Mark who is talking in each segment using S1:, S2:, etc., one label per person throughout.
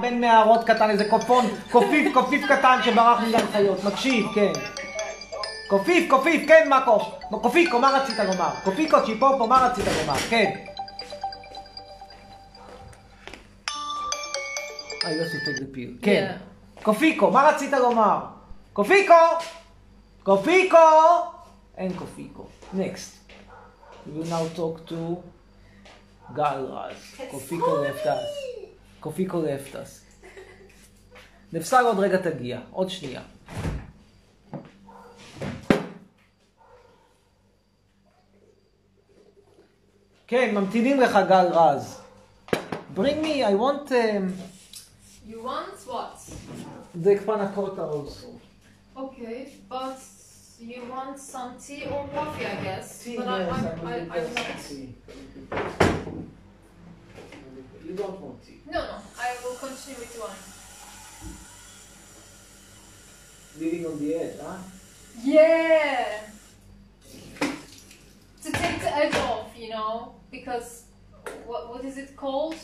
S1: בן מערות קטן, איזה קופון, קופיף, קופיף קטן שברח מגן חיות. מקשיב, כן. קופיף, קופיף, כן, מקו. קופיקו, מה רצית לומר? קופיקו, צ'יפופו, מה רצית לומר? כן. אה, יוסי תגפיר. כן. קופיקו, מה רצית לומר? קופיקו! קופיקו! אין קופיקו. נקסט. You now talk to גל רז. קופיקו left us. קופיקו left us. נפסל עוד רגע תגיע. עוד שנייה. כן, ממתינים לך גל רז. Bring me, I want... Um...
S2: You want what?
S1: The panna cotta also.
S2: Okay, but you want some tea or coffee, I guess.
S1: Tea,
S2: but
S1: yes,
S2: I,
S1: I
S2: I, I,
S1: will
S2: I
S1: get
S2: not.
S1: tea. You don't want tea.
S2: No, no, I will continue with wine.
S1: Living on the edge, huh?
S2: Yeah! To take the edge off, you know, because what, what is it called?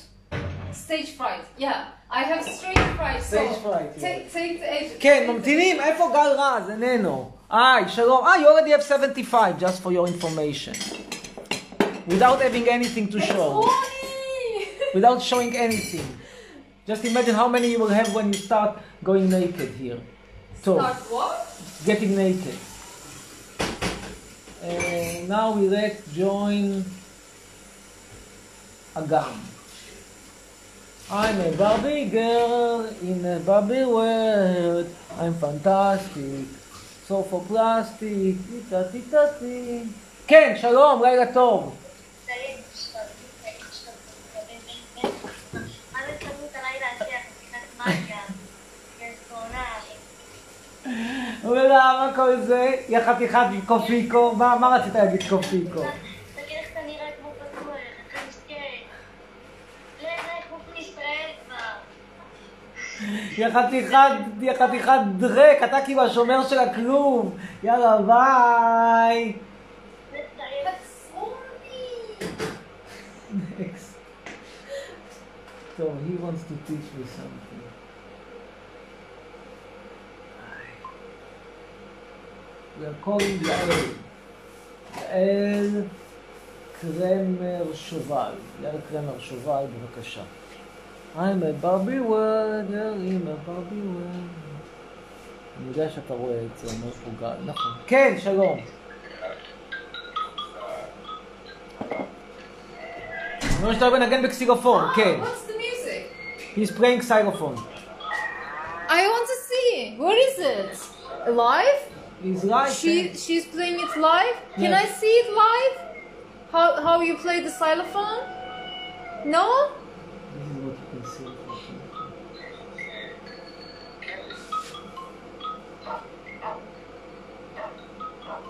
S2: Stage fright. Yeah, I have stage fright.
S1: Stage
S2: so
S1: fright, yeah.
S2: Take, take the edge.
S1: כן, ממתינים, איפה גל רז? איננו. היי, שלום. אה, you already have 75, just for your information. Without having anything to
S2: It's
S1: show.
S2: funny!
S1: Without showing anything. Just imagine how many you will have when you start going naked here. טוב.
S2: Start what?
S1: getting naked. Uh, now we let join Agam. I'm a Barbie girl in a Barbie world. I'm fantastic. So for plastic, טיטה טיטה טי. כן, שלום, לילה טוב. ולמה כל זה? יא חתיכת קופיקו, מה, מה רצית להגיד קופיקו? יא חתיכת, יא חתיכת דרק, אתה כאילו השומר של הכלוב. יאללה, ביי.
S2: That's funny!
S1: Next. So he wants to teach me something. We are calling Yael. Yael קרמר שובל. יאל קרמר שובל, בבקשה. I'm a Barbie world, I'm a Barbie world. אני יודע שאתה רואה את זה, אומר פה גל. נכון. כן, שלום. אני רואה שאתה אוהב לנגן בקסילופון,
S2: Ah,
S1: כן.
S2: What's the music?
S1: He's playing xylophone.
S2: I want to see. What is it? Live?
S1: He's right.
S2: She she's playing it live. Can
S1: Yes.
S2: I see it live? How how you play the xylophone? No?
S1: This is what you can see. unfortunately.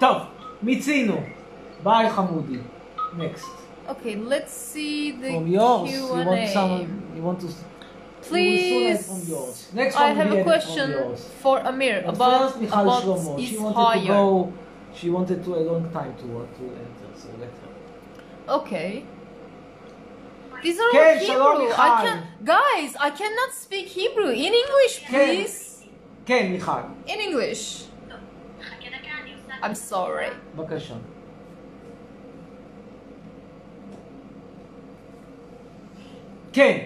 S1: טוב, מיצינו. ביי חמודי. Next.
S2: Okay, let's see the
S1: From yours, you want
S2: Q&A.
S1: someone, you want to...
S2: Please.
S1: From yours. Next
S2: I
S1: one
S2: have
S1: will be
S2: a
S1: from
S2: question
S1: yours.
S2: for Amir
S1: But
S2: about
S1: first, Michal
S2: about
S1: Shlomo. She wanted to
S2: Ishaya.
S1: go, she wanted to a long time to, to enter, so let her.
S2: Okay. These are
S1: Ken,
S2: all
S1: shalom,
S2: Hebrew. I
S1: Michal.
S2: can guys, I cannot speak Hebrew. In English, please.
S1: כן, מיכל,
S2: In English. I'm sorry.
S1: בבקשה. כן.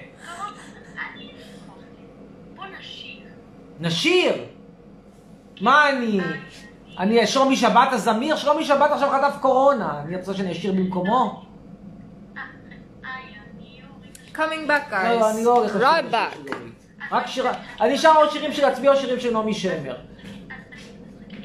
S1: נשיר! מה אני? אני שלומי שבת הזמיר? שלומי שבת עכשיו חטף קורונה. אני רוצה שאני אשיר במקומו?
S2: Coming back, guys.
S1: לא, אני לא הולך לשיר
S2: right
S1: בשיר
S2: back.
S1: של אורית. רק שירה... אני שר עוד שירים של עצמי או שירים של נעמי שמר.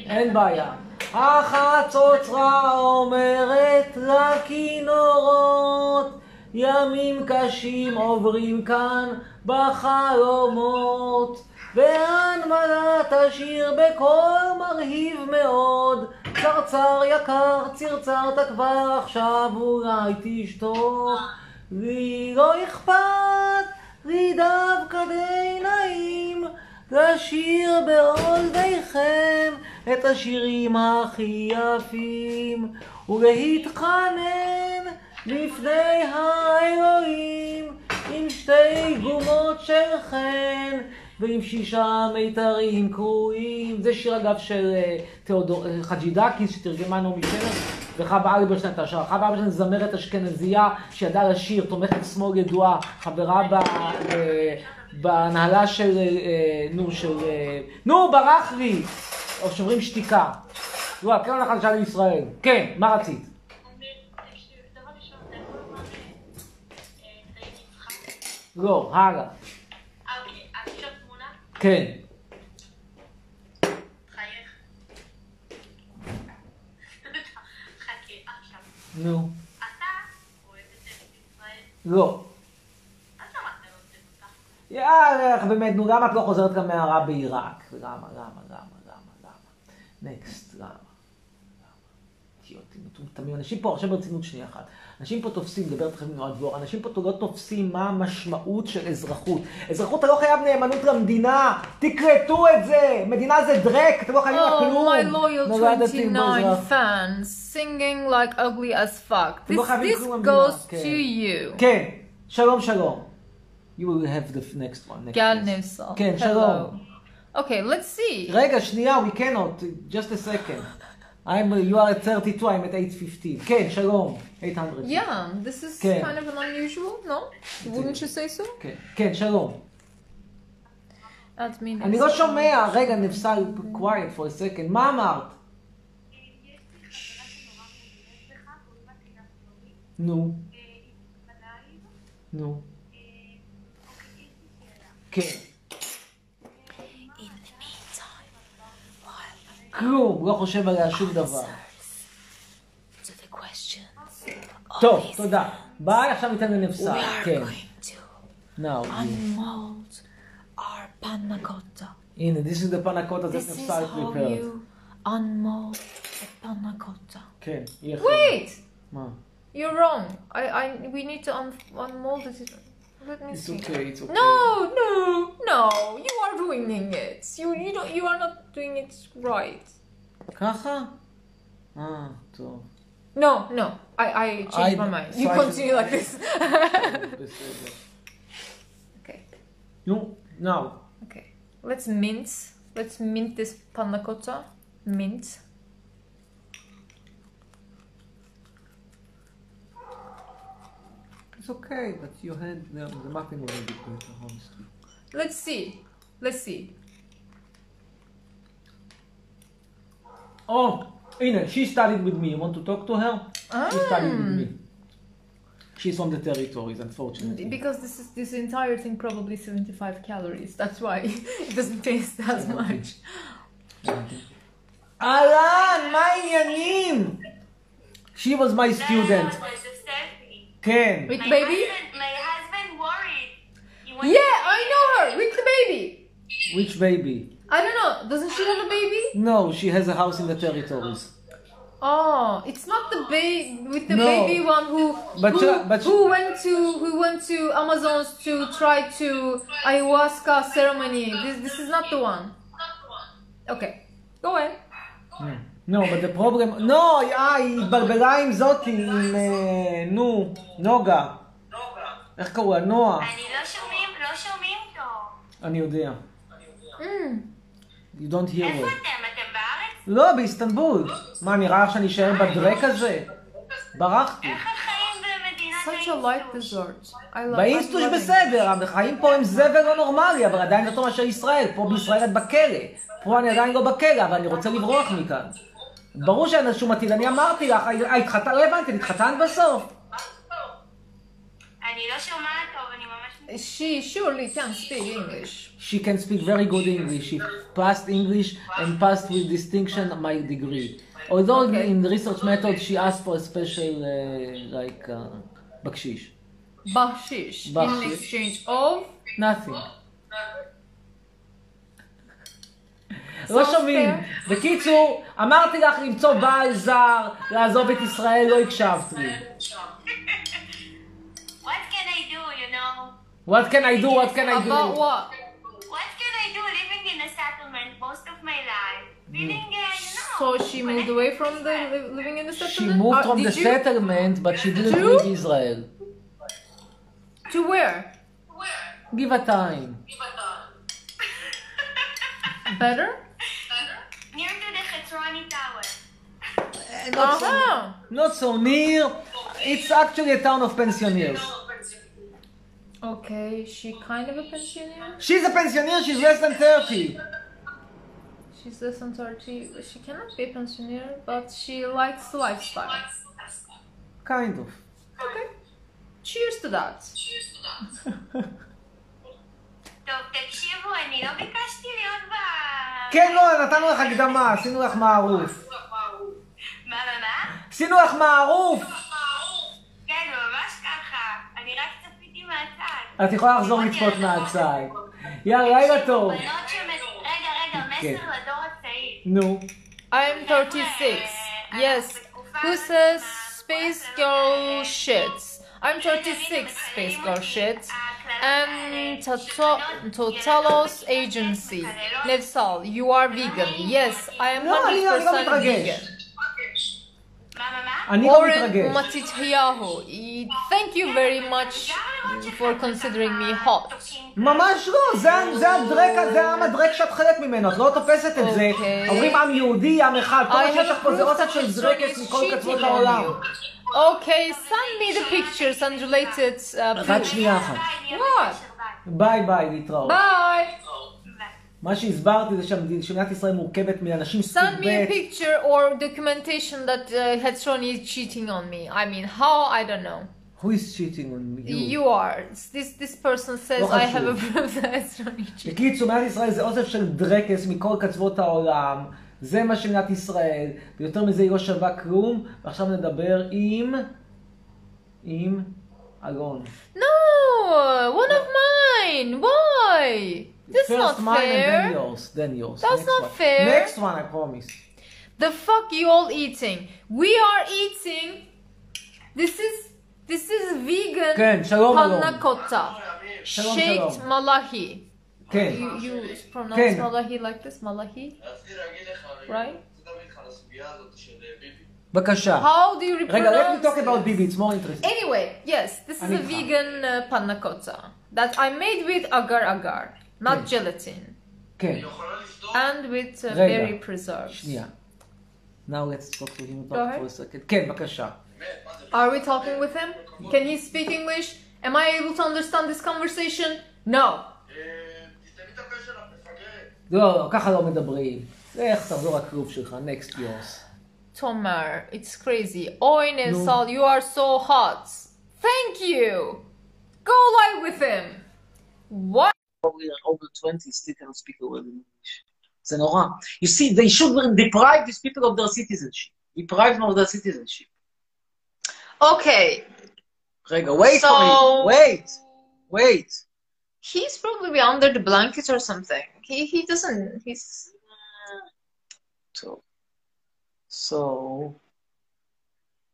S1: אין בעיה. החצוצרה אומרת לכינורות, ימים קשים עוברים כאן בחלומות. והנמלה תשיר בקול מרהיב מאוד, צרצר יקר, צרצרת כבר עכשיו אולי תשתוק. לי לא אכפת, לי דווקא די נעים, לשיר באוזניכם את השירים הכי יפים ולהתחנן לפני האלוהים אם עם שתי גומות של חן, ועם שישה מיתרים קרועים. זה שיר אגב של אה, תיאודור אה, חג'ידקיס, שתרגמה נעמי שמר, וחווה אלברשטיין את השער. חווה אלברשטיין זמרת אשכנזייה שידעה לשיר, תומכת שמאל ידועה, חברה אה, ב... ב- בהנהלה של, אה, אה, נו, של, אה, נו, ברח לי! או שוברים שתיקה. נו, הקרן החדשה לישראל. כן, מה רצית? לא, הלאה. כן. נו. לא. יאללה, באמת, נו, למה את לא חוזרת למערה בעיראק? למה, למה, למה, למה, למה? נקסט, למה? למה? אידיוטים, מטומטמים. אנשים פה, עכשיו ברצינות שנייה אחת. אנשים פה תופסים, מדבר איתכם עם נועה דבור, אנשים פה לא תופסים מה המשמעות של אזרחות. אזרחות אתה לא חייב נאמנות למדינה, תקלטו את זה! מדינה זה דרק, אתם לא חייבים לה
S2: Oh,
S1: כלום.
S2: my loyal
S1: נולדתי
S2: 29
S1: באזרח.
S2: fans singing like ugly as fuck.
S1: אתם לא
S2: This,
S1: חייבים
S2: this
S1: כלום למדינה.
S2: goes
S1: כן.
S2: to you.
S1: כן, שלום שלום. You will have the next one. next
S2: גל
S1: please.
S2: נבסל.
S1: כן,
S2: Hello.
S1: שלום.
S2: Okay, let's see.
S1: רגע, שנייה, we cannot, just a second. I'm, you are at 32, I'm at 815. כן, שלום, 800.
S2: Yeah, this is
S1: כן.
S2: kind of an unusual, no? Wouldn't you say so?
S1: כן, כן, שלום.
S2: At me.
S1: אני לא שומע, רגע, נפסל quiet for a second. מה אמרת? נו, נו. כן. כלום, לא חושב עליה שום דבר.
S3: to the questions.
S1: טוב, תודה. ביי, עכשיו ניתן לנפסל.
S3: We are
S1: כן.
S3: going to
S1: Now,
S3: unmold our panna cotta.
S1: הנה, this is the פנקוטה, זה
S3: This is
S1: נפסל
S3: how
S1: prepared.
S3: you unmold the panna cotta.
S1: כן, היא אחרת.
S2: Wait,
S1: מה?
S2: you're wrong. I, I, we need to un- unmold it. Let me
S1: It's
S2: see.
S1: okay, it's okay.
S2: No, no, no! You are ruining it. You, you don't. You are not doing it right.
S1: ככה? אה, טוב.
S2: No, no. I, I changed
S1: I-
S2: my mind.
S1: so I
S2: You
S1: should-
S2: continue like this.
S1: בסדר.
S2: okay,
S1: נו, now.
S2: okay. Let's mint. Let's mint this panna cotta. Mint.
S1: It's okay, but you had no, the mapping was a bit better, honestly.
S2: Let's see. Let's see.
S1: Oh, הנה, she studied with me. You want to talk to her? She studied with me.
S3: Ah.
S1: She's on the territories, unfortunately.
S2: Because this is this entire thing probably 75 calories. That's why it doesn't taste as much.
S1: אהלן, מה העניינים? She was my student. כן.
S2: With baby?
S4: My husband worried. He went-
S2: Yeah, I know her with the baby.
S1: Which baby?
S2: I don't know. Doesn't she have a baby?
S1: No, she has a house in the territories.
S2: Oh, it's not the baby with the
S1: No.
S2: baby one who
S1: But
S2: who,
S1: she- but she-
S2: who went to who went to Amazon's to try to ayahuasca ceremony. This this is not the one. Okay, go ahead.
S1: Hmm. No, but the problem... No, אה, היא התבלבלה עם זאתי, עם... אה, נו, נוגה. איך קראו לה? נועה.
S4: אני לא שומעים, לא שומעים אותו.
S1: אני יודע.
S2: Mm,
S1: You don't hear
S4: איפה
S1: her.
S4: אתם? אתם בארץ?
S1: לא, באיסטנבול. מה, נראה לך שאני אשאר בדרק הזה? ברחתי.
S4: איך החיים במדינת
S2: Such a light dessert. I love.
S1: באיסטוש
S2: I'm loving it.
S1: בסדר, החיים פה הם זבל לא נורמלי, אבל עדיין יותר מאשר ישראל. פה בישראל את בכלא. פה אני עדיין לא בכלא, אבל אני רוצה לברוח מכאן. ברור שאין לזה שום עתיד, אני אמרתי לך, אה, התחתנת, לא הבנתי, התחתנת בסוף?
S4: אני לא שומעת טוב, אני ממש...
S2: She surely can speak English.
S1: She can speak very good English. She passed English and passed with distinction my degree. Although
S2: Okay.
S1: in the research method she asked for a special uh, like uh, bakshish.
S2: Bakshish in
S1: Bakshish.
S2: exchange of
S1: nothing. לא שומעים. בקיצור, אמרתי לך למצוא בעל זר, לעזוב את ישראל, לא הקשבת לי.
S4: What can I do, you know?
S1: What can I do? What can I
S2: about
S1: do?
S2: what?
S4: What can I do living in a settlement most of my life? Feeling, uh, you know...
S2: Mm. So she moved away from the li- living in the
S1: She
S2: settlement.
S1: moved
S2: Or
S1: from
S2: אה, did
S1: the
S2: you-
S1: settlement, but she didn't
S2: Did you?
S1: leave Israel.
S2: To where?
S5: Where?
S6: Give a time.
S5: Ibaton.
S2: Better?
S5: Near to the Chetroni Tower.
S6: Eh, Not, so,
S2: Uh-huh.
S6: not so near. לא It's actually a town of pensioners.
S2: Okay, she kind of a pensioner.
S6: She's a pensioner, she's less than 30.
S2: She's less than 30. She cannot be a pensioner, but she likes the lifestyle.
S6: Kind of.
S2: Okay. Cheers to that.
S5: טוב, תקשיבו, אני לא ביקשתי להיות ב...
S6: כן, לא, נתנו לך הקדמה, עשינו לך מערוף.
S5: מה, מה, מה?
S6: עשינו לך מערוף!
S5: כן, ממש ככה. אני רק צפיתי מהצד.
S6: את יכולה לחזור לצפות מהצד. יאללה, לילה טוב.
S5: בנות שמס... רגע, רגע,
S6: כן.
S5: מסר לדור הצעיר.
S6: נו.
S2: I'm 36. Yes. Who says space girl shits? I'm 36, space girl shit. And Tato- Totalos agency. Nevsal, you are vegan. Yes, I am
S6: לא, אני לא- אני לא
S2: 100% vegan.
S6: מתרגש.
S5: מה, מה, מה?
S6: אני לא
S2: Oren
S6: מתרגש.
S2: Matityahu, thank you very much for considering me hot.
S6: ממש לא, זה- זה הדרק, זה העם הדרק שאת חלק ממנו, את לא תופסת את זה.
S2: אוקיי.
S6: אומרים עם יהודי, עם אחד, כל מה
S2: I
S6: שיש
S2: have
S6: לך פה זה
S2: proof
S6: אוסף
S2: that
S6: של
S2: Shishon
S6: דרקס
S2: is
S6: מכל קצוות
S2: cheating on
S6: העולם.
S2: Okay, send me the pictures and related uh,
S6: רק
S2: proof.
S6: שנייה אחת.
S5: ביי, אני
S2: What?
S5: בקשר,
S6: ביי
S5: ביי.
S6: ביי, להתראות.
S2: Bye.
S6: מה שהסברתי זה שהמדינה- שמדינת ישראל מורכבת מאנשים סוג
S2: Send me
S6: ב',
S2: a picture or documentation that uh, Hetzron is cheating on me. I mean, how? I don't know.
S6: who is cheating on you?
S2: You are. This this person says
S6: לא
S2: I have a
S6: חשוב.
S2: proof that Hetzron is cheating.
S6: בקיצור, מדינת ישראל זה אוסף של דרקס מכל קצוות העולם, זה מה שמדינת ישראל, ויותר מזה היא לא שווה כלום, ועכשיו נדבר עם... עם אלון.
S2: No, one of mine. Why? That's
S6: First
S2: not
S6: mine and then
S2: fair.
S6: yours, then yours.
S2: That's
S6: Next
S2: not
S6: one.
S2: fair.
S6: Next one, I promise.
S2: The fuck you all eating? We are eating. This is this is vegan
S6: כן, שלום, אלון.
S2: panna cotta,
S6: שלום,
S2: shaked
S6: שלום.
S2: malahi.
S6: כן.
S2: You, you pronounce
S6: כן.
S2: malahi like this, malahi,
S7: רציתי להגיד לך, אני
S2: right?
S7: רוצה לדבר איתך על הסוגיה הזאת של אה, ביבי.
S6: בבקשה.
S2: How do you
S6: רגע, let me
S2: pronounce
S6: talk about
S2: it?
S6: ביבי, it's more interesting.
S2: Anyway, yes, this is
S6: אני
S2: a
S6: איתך.
S2: vegan uh, panna cotta that I made with agar agar, not gelatin,
S6: כן,
S7: היא יכולה לפתור
S2: and with uh,
S6: רגע.
S2: berry preserves.
S6: שנייה. Now let's talk to him
S2: Go
S6: about
S2: ahead.
S6: for a second. כן, בבקשה.
S7: באמת, מה זה?
S2: Are we talking with him? Can he speak English? Am I able to understand this conversation? No.
S7: אה, תסתמי את הפה שלך, מפגרת.
S6: לא, לא, ככה לא מדברים. לך, תחזור לכלוב שלך, next yours.
S2: Tomer, it's crazy. Oy Nevsal, you are so hot. Thank you. Go live with him. What?
S1: probably are over 20 still cannot speak a word in English. זה נורא. You see, they should deprive these people of their citizenship. Deprive them of their citizenship.
S2: Okay,
S1: רגע, wait for me.
S2: So-
S1: Wait. Wait.
S2: he's probably under the blanket or something. He he doesn't. He's
S1: So, so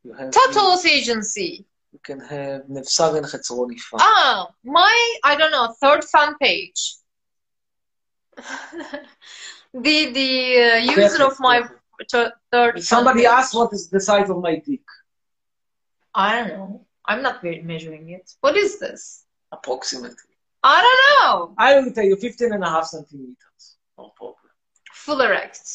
S1: you have
S2: Totolos
S1: Mm.
S2: agency.
S1: you can have נבשר אין חצרו נפעם.
S2: Ah, my I don't know third fan page. the the uh, user of my t- third.
S1: Somebody
S2: fan page.
S1: asked what is the size of my dick.
S2: I don't know. I'm not me- measuring it. What is this?
S1: Approximately.
S2: I don't know.
S1: I will tell you 15 and a half centimeters. No problem.
S2: Full erect.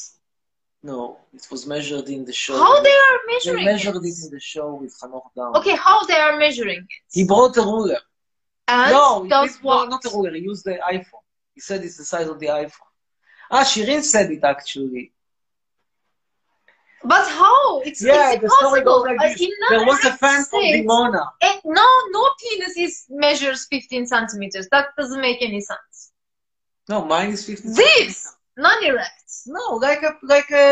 S1: No, it was measured in the show.
S2: How they are
S1: They
S2: measuring
S1: measured it
S2: it?
S1: in the show with Hanoch Down.
S2: Okay, how they are measuring it?
S1: He brought a ruler.
S2: And
S1: no, he
S2: does
S1: didn't-
S2: what?
S1: no, not a ruler. He used the iPhone. He said it's the size of the iPhone. Ah, Shirin said it actually.
S2: But how? It's,
S1: Yeah,
S2: it's
S1: the story
S2: impossible.
S1: goes like
S2: Uh,
S1: this.
S2: in
S1: There was a
S2: United
S1: fan from
S2: States,
S1: Dimona.
S2: eh, no, no penis is measures 15 centimeters. That doesn't make any sense.
S1: No, mine is 50.
S2: This non-erect.
S1: No, like a like a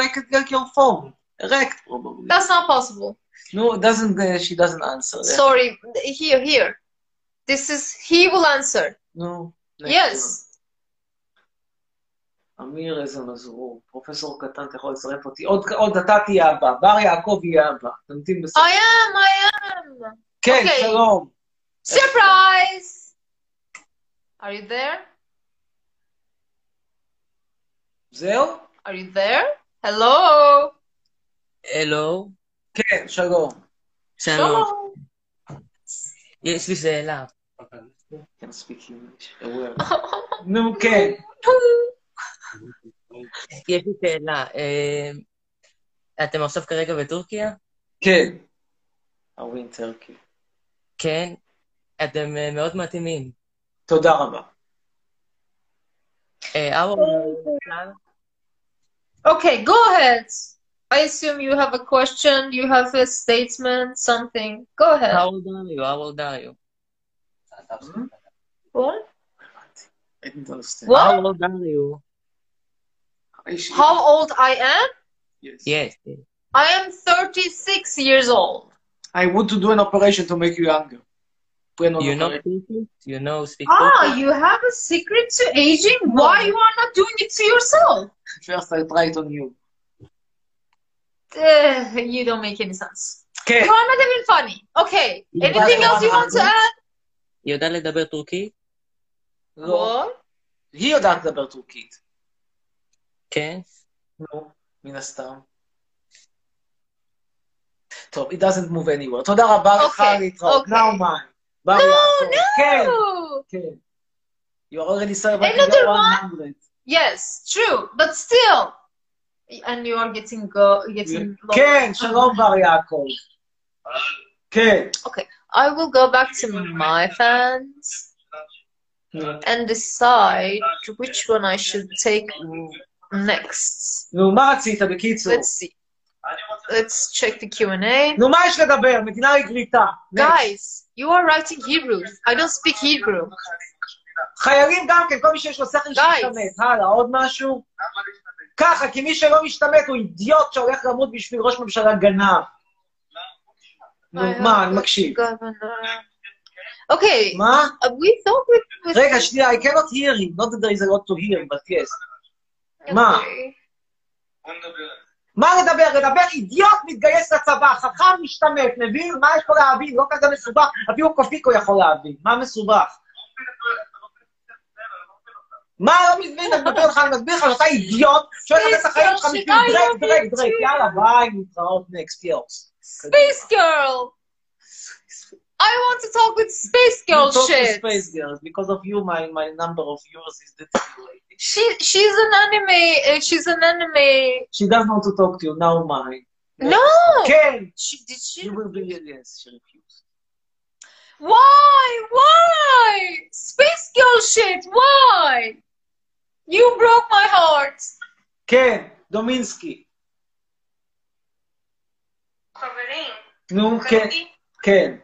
S1: like a, like your phone. Erect probably.
S2: That's not possible.
S1: No, it doesn't uh, she doesn't answer. that.
S2: Sorry. Here, here. This is he will answer.
S1: no. next
S2: Yes.
S1: one. אמיר איזה מזרור, פרופסור קטן, אתה יכול לצרף אותי. עוד, עוד אתה תהיה הבא, בר יעקב יהיה הבא, תמתין בסוף.
S2: I am. I am.
S1: כן,
S2: אוקיי.
S1: שלום.
S2: Surprise! Are you there?
S1: זהו?
S2: Are you there? Hello.
S8: הלו,
S1: כן, שלום.
S8: שלום.
S2: Hello.
S8: יש לי שאלה.
S1: can speak English. A word. נו, כן.
S8: יש לי שאלה. אה, אתם עכשיו כרגע בטורקיה?
S1: כן. ההורים טרקי.
S8: כן. אתם אה, מאוד מתאימים.
S1: תודה רבה.
S8: אה, אבו,
S2: Okay, go ahead. I assume you have a question, you have a statement, something. Go ahead.
S8: how old are you? How old are you?
S2: What?
S1: I don't understand.
S2: What?
S8: How old are you?
S1: Yes.
S2: How old I am?
S8: Yes.
S2: I am 36 years old.
S1: I want to do an operation to make you younger. Plan on
S8: You know
S1: operation.
S8: Turkish? You know speak
S2: Ah,
S8: Turkish?
S2: you have a secret to aging? Why you are not doing it to yourself?
S1: First I try it on you.
S2: Uh, you don't make any sense.
S1: כן.
S2: You are not even funny. Okay.
S8: Yeah.
S2: Anything else you want to add?
S8: היא יודעת לדבר טורקית?
S1: לא. היא יודעת לדבר טורקית.
S8: כן.
S1: לא. מן הסתם. טוב, it doesn't move anywhere. תודה רבה לך,
S2: אוקיי,
S1: להתראות.
S2: אוקיי.
S1: Now mine. בר יעקב. כן,
S2: No.
S1: כן. You already served
S2: Another
S1: one hundred.
S2: Yes, true, but still. And you are getting go getting low.
S1: כן, שלום בר יעקב. כן.
S2: I will go back to my fans and decide which one I should take next.
S1: נו, מה רצית בקיצור?
S2: Let's see. Let's check the Q&A.
S1: נו, מה יש לדבר? מדינה לגריטה.
S2: Guys, you are writing Hebrew. I don't speak Hebrew.
S1: חיילים גם כן, כל מי שיש לו שכל
S2: די.
S1: שישתמט. הלאה, עוד משהו? ככה, כי מי שלא משתמט הוא אידיוט שהולך למות בשביל ראש ממשלה גנב. נו, מה,
S2: אה,
S1: אני מקשיב.
S2: Governor. Okay,
S1: מה?
S2: uh, we thought we we-
S1: רגע, שנייה, I cannot hear him, not that there is a lot to hear, but yes.
S2: Okay.
S1: מה? מה לדבר? לדבר אידיוט מתגייס לצבא, חכם משתמט, מבין? מה יש פה להבין? לא כזה מסובך, אפילו קופיקו יכול להבין. מה מסובך? מה לא מבין? אני מדבר לך, אני מסביר לך שאתה אידיוט, שואל לך את החיים שלך בשביל דרק, דרק, דרק, יאללה, ביי, נתראות נקסט, יורס.
S2: Space Girl! I want to talk with Space Girl shit.
S1: Space girls, because of you, my, my number of viewers is deteriorating.
S2: She she's an anime. uh, She's an anime.
S1: She doesn't want to talk to you, now mine.
S2: No.
S1: כן,
S2: She did she?
S1: you will be, yes, she refused.
S2: Why? Why? Space Girl shit. Why? You broke my heart.
S1: כן, דומינסקי.
S5: חברים,
S1: נו, כן,
S5: חברים,
S1: כן.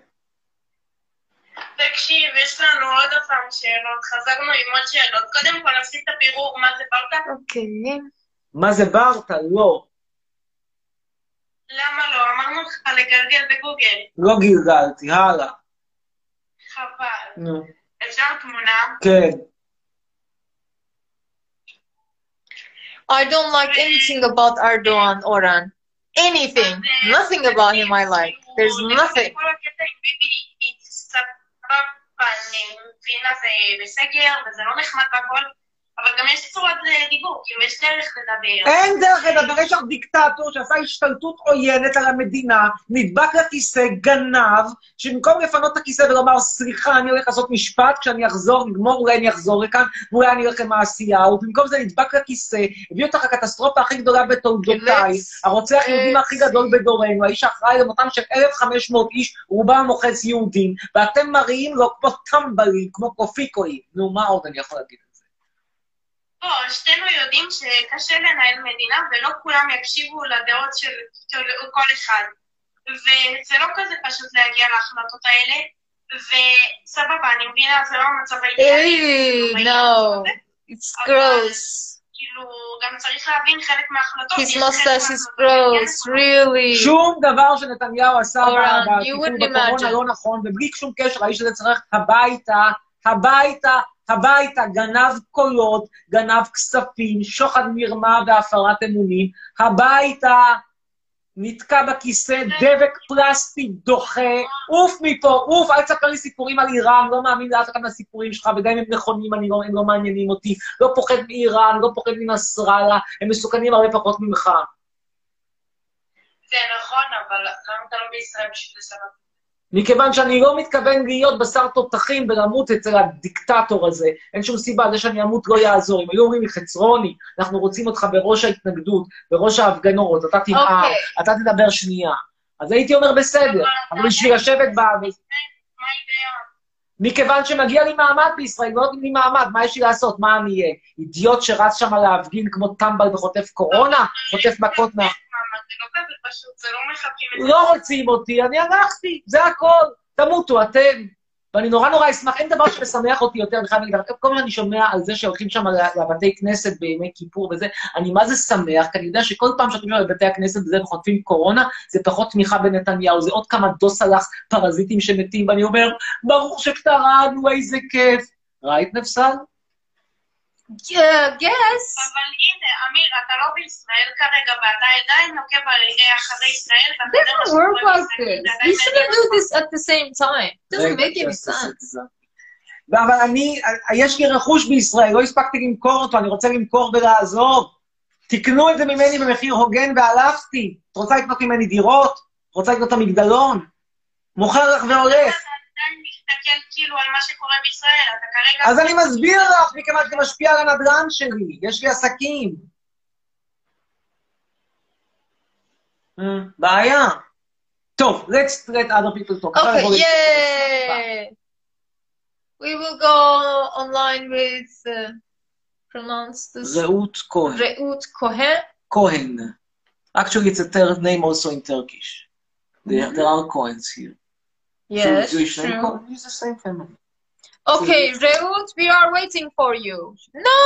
S5: תקשיב, יש לנו עוד פעם שאלות, חזרנו עם עוד שאלות. קודם כל, עשית את הבירור מה זה ברקה?
S2: Okay.
S1: מה זה ברטה? לא.
S5: למה לא? אמרנו לך לגלגל בגוגל.
S1: לא גלגלתי, הלאה.
S5: חבל.
S1: נו,
S5: אפשר תמונה?
S1: כן.
S2: I don't like anything about Erdogan Oran. Anything.
S5: אה,
S2: Nothing about him I like. There's nothing.
S5: כל הקטע עם ביבי הצטרפה, אני מבינה, זה בסגר, וזה לא נחמד והכל, אבל גם יש צורת אה, דיבור, כאילו יש דרך לדבר.
S2: אה,
S1: אין דרך לדבר, יש לך דיקטטור שעשה השתלטות עוינת על המדינה, נדבק לכיסא, גנב, שבמקום לפנות את הכיסא ולומר, סליחה, אני הולך לעשות משפט, כשאני אחזור, נגמור, אולי אני אחזור לכאן, ואולי אני אלך למעשיהו, ובמקום זה נדבק לכיסא, הביא אותך לקטסטרופה הכי גדולה בתולדותיי,
S2: Let's-
S1: הרוצח יהודים הכי גדול בדורנו, האיש האחראי למותם של 1,500 איש, רובם מוחץ יהודים, ואתם מראים לו כמו טמבלים, כמו קופיקואים. נו, מה עוד אני יכול להגיד?
S5: בוא, לא, שתינו יודעים שקשה לנהל מדינה ולא כולם יקשיבו לדעות של, של כל אחד. וזה לא כזה פשוט להגיע להחלטות האלה, וסבבה, אני מבינה, זה לא המצב האידיאלי. לא
S2: Ew, no. It's gross.
S5: כאילו, גם צריך להבין חלק מההחלטות.
S2: His
S5: יש חלק
S2: mustache is
S5: מההחלטות
S2: gross,
S5: שכן
S2: really.
S1: שום דבר שנתניהו עשה
S2: אורן,
S1: ב-
S2: you
S1: בטיפול
S2: wouldn't imagine.
S1: בקורונה לא נכון, ובלי שום קשר, האיש הזה צריך הביתה, הביתה, הביתה, גנב קולות, גנב כספים, שוחד מרמה והפרת אמונים, הביתה, נתקע בכיסא, דבק פלסטי דוחה, עוף מפה, עוף, אל תספר לי סיפורים על איראן, לא מאמין לאף אחד מהסיפורים שלך, וגם אם הם נכונים, אני לא, הם לא מעניינים אותי, לא פוחד מאיראן, לא פוחד מנסראללה, הם מסוכנים הרבה פחות ממך.
S5: זה נכון, אבל למה אתה לא בישראל בשביל לסבבה?
S1: מכיוון שאני לא מתכוון להיות בשר תותחים ולמות אצל הדיקטטור הזה. אין שום סיבה, זה שאני אמות לא יעזור. אם היו אומרים לי, חצרוני, אנחנו רוצים אותך בראש ההתנגדות, בראש ההפגנות, אתה תנאם,
S2: אוקיי.
S1: אתה תדבר שנייה. אז הייתי אומר, בסדר, אבל בשביל לשבת ב...
S5: מה ההיגיון?
S1: מכיוון שמגיע לי מעמד בישראל, לא נותנים לי מעמד, מה יש לי לעשות? מה אני אהיה? אידיוט שרץ שם להפגין כמו טמבל וחוטף קורונה? חוטף מכות מה...
S5: מעמד, זה לא כזה פשוט, זה לא מחכים את
S1: לא רוצים אותי, אני הלכתי, זה הכל. תמותו אתם. ואני נורא נורא אשמח, אין דבר שמשמח אותי יותר, אני חייב להגיד, לך. כל הזמן אני שומע על זה שהולכים שם ל- לבתי כנסת בימי כיפור וזה, אני מה זה שמח, כי אני יודע שכל פעם שאתם שם לבתי הכנסת וזה וחוטפים קורונה, זה פחות תמיכה בנתניהו, זה עוד כמה דו סלאח פרזיטים שמתים, ואני אומר, ברור שקטרנו, איזה כיף. ראית נפסל?
S2: Yeah, yes.
S5: אבל הנה, אמיר, אתה לא בישראל כרגע, ואתה עדיין עוקב על- אה, אחרי ישראל, ואתה יודע לא מה
S2: Doesn't work
S5: שקורה
S2: like
S5: בישראל,
S2: this.
S5: ואתה
S2: You
S5: יודע
S2: shouldn't
S5: מה
S2: do this at the same time. Doesn't
S1: רגע,
S2: make any
S1: שעשה
S2: sense.
S1: סקסה. אבל אני, יש לי רכוש בישראל, לא הספקתי למכור אותו, אני רוצה למכור ולעזוב. תקנו את זה ממני במחיר הוגן והלכתי. את רוצה לקנות ממני דירות? את רוצה לקנות את המגדלון? מוכר לך והולך.
S5: עדיין מסתכל כאילו על מה שקורה בישראל, אתה כרגע...
S1: אז אני מסביר לך, מכיוון שזה משפיע על הנדל"ן שלי, יש לי עסקים. אה, בעיה. טוב, let's let other people talk. עכשיו
S2: Okay,
S1: נעבור ל-
S2: yay! We will go online with uh, pronounce this.
S1: רעות כהן.
S2: Reut Cohen.
S1: Cohen. Actually, it's a third name also in Turkish. There, there are Cohens here.
S2: Mm-hmm.
S1: Jew-
S2: Yes,
S1: Jewish name
S2: true.
S1: Cohen is the same family.
S2: Okay, Reut, we are waiting for you. No,